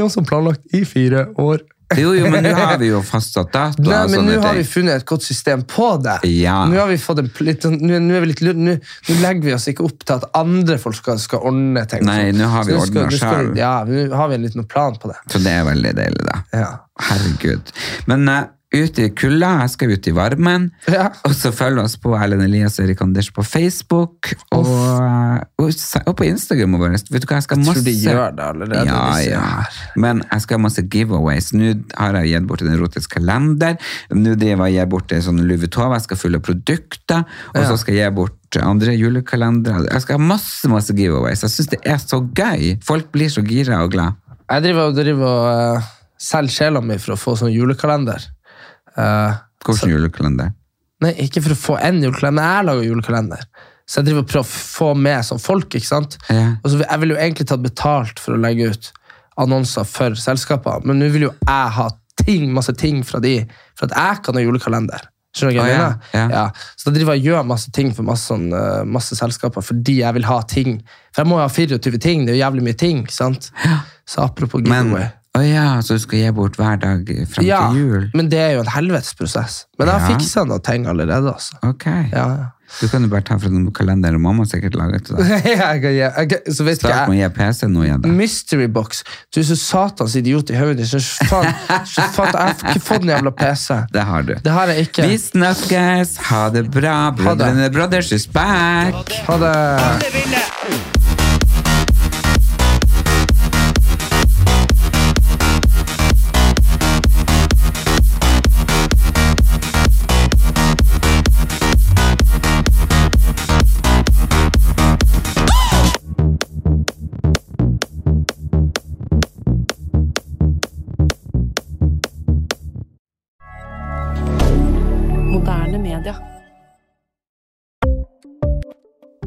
[SPEAKER 1] også planlagt i fire år.
[SPEAKER 2] Jo, jo, men nå har vi jo fastsatt datoer.
[SPEAKER 1] Nei,
[SPEAKER 2] og
[SPEAKER 1] men
[SPEAKER 2] sånne
[SPEAKER 1] Nå har vi
[SPEAKER 2] ting.
[SPEAKER 1] funnet et godt system på det.
[SPEAKER 2] sånn Ja.
[SPEAKER 1] Nå, har vi fått en, pl- litt, sånn- nå, nå, er vi litt, lur- nå, nå legger vi oss ikke opp til at andre folk skal, skal ordne ting.
[SPEAKER 2] Nei, nå har vi
[SPEAKER 1] Så skal-
[SPEAKER 2] ordnet
[SPEAKER 1] nå skal-
[SPEAKER 2] selv.
[SPEAKER 1] Ja, nå har vi en liten plan på det.
[SPEAKER 2] Så det er veldig deilig, da.
[SPEAKER 1] Ja.
[SPEAKER 2] Herregud. Men eh, ut i kulda, jeg skal ut i varmen.
[SPEAKER 1] Ja.
[SPEAKER 2] Og så følg oss på Erlend Elias og Erik Anders på Facebook. Og, eh, og, se- og på Instagram. vår. Vet du hva, jeg skal
[SPEAKER 1] Jeg
[SPEAKER 2] masse...
[SPEAKER 1] tror de gjør det allerede,
[SPEAKER 2] Ja,
[SPEAKER 1] disse
[SPEAKER 2] ja.
[SPEAKER 1] her.
[SPEAKER 2] Men jeg skal ha masse giveaways. Nå har jeg gitt bort en erotisk kalender. Nå driver jeg og gir bort en sånn Louis Vuitton. Jeg skal fylle produkter. Og så skal jeg gi bort andre julekalendere. Jeg skal ha masse, masse giveaways. Jeg synes det er så gøy. Folk blir så gira og glad.
[SPEAKER 1] Jeg driver, driver og eh, selger sjela mi for å få sånn julekalender. Eh,
[SPEAKER 2] Hvordan julekalender?
[SPEAKER 1] Nei, ikke for å få en julekalender. Jeg lager julekalender. Så jeg driver og prøver å få med sånn folk. ikke sant?
[SPEAKER 2] Ja.
[SPEAKER 1] Og så vil- Jeg ville jo egentlig tatt betalt for å legge ut annonser for selskaper, men nå vil jo jeg ha ting, masse ting fra de, for at jeg kan ha julekalender. Skjønner du hva jeg
[SPEAKER 2] Å, ja,
[SPEAKER 1] mener?
[SPEAKER 2] ja.
[SPEAKER 1] Så da driver jeg og gjør masse ting for masse, sånn, eh, masse selskaper fordi jeg vil ha ting. For jeg må jo ha 24 ting, det er jo jævlig mye ting. ikke sant? Så apropos
[SPEAKER 2] Men,
[SPEAKER 1] giveaway.
[SPEAKER 2] å ja, så du skal gi bort hver dag frem
[SPEAKER 1] ja,
[SPEAKER 2] til jul?
[SPEAKER 1] men det er jo en helvetes prosess. Men jeg har
[SPEAKER 2] Ja.
[SPEAKER 1] fiksa noen ting allerede, altså.
[SPEAKER 2] Ok.
[SPEAKER 1] Ja, ja.
[SPEAKER 2] Du kan jo bare ta fra den kalenderen mamma sikkert laget
[SPEAKER 1] [laughs]
[SPEAKER 2] til deg.
[SPEAKER 1] jeg kan, jeg, jeg, så vet
[SPEAKER 2] Start
[SPEAKER 1] ikke jeg.
[SPEAKER 2] med å gi PC nå, ja da.
[SPEAKER 1] Mystery box. Du er så satans idiot i hodet. Så
[SPEAKER 2] [laughs]
[SPEAKER 1] faen, så faen, jeg har ikke fått den jævla PC.
[SPEAKER 2] Det har du.
[SPEAKER 1] Det har jeg ikke.
[SPEAKER 2] Vi snakkes, ha det bra, brødrene Brothers is back!
[SPEAKER 1] Ha det.
[SPEAKER 3] Moderne media.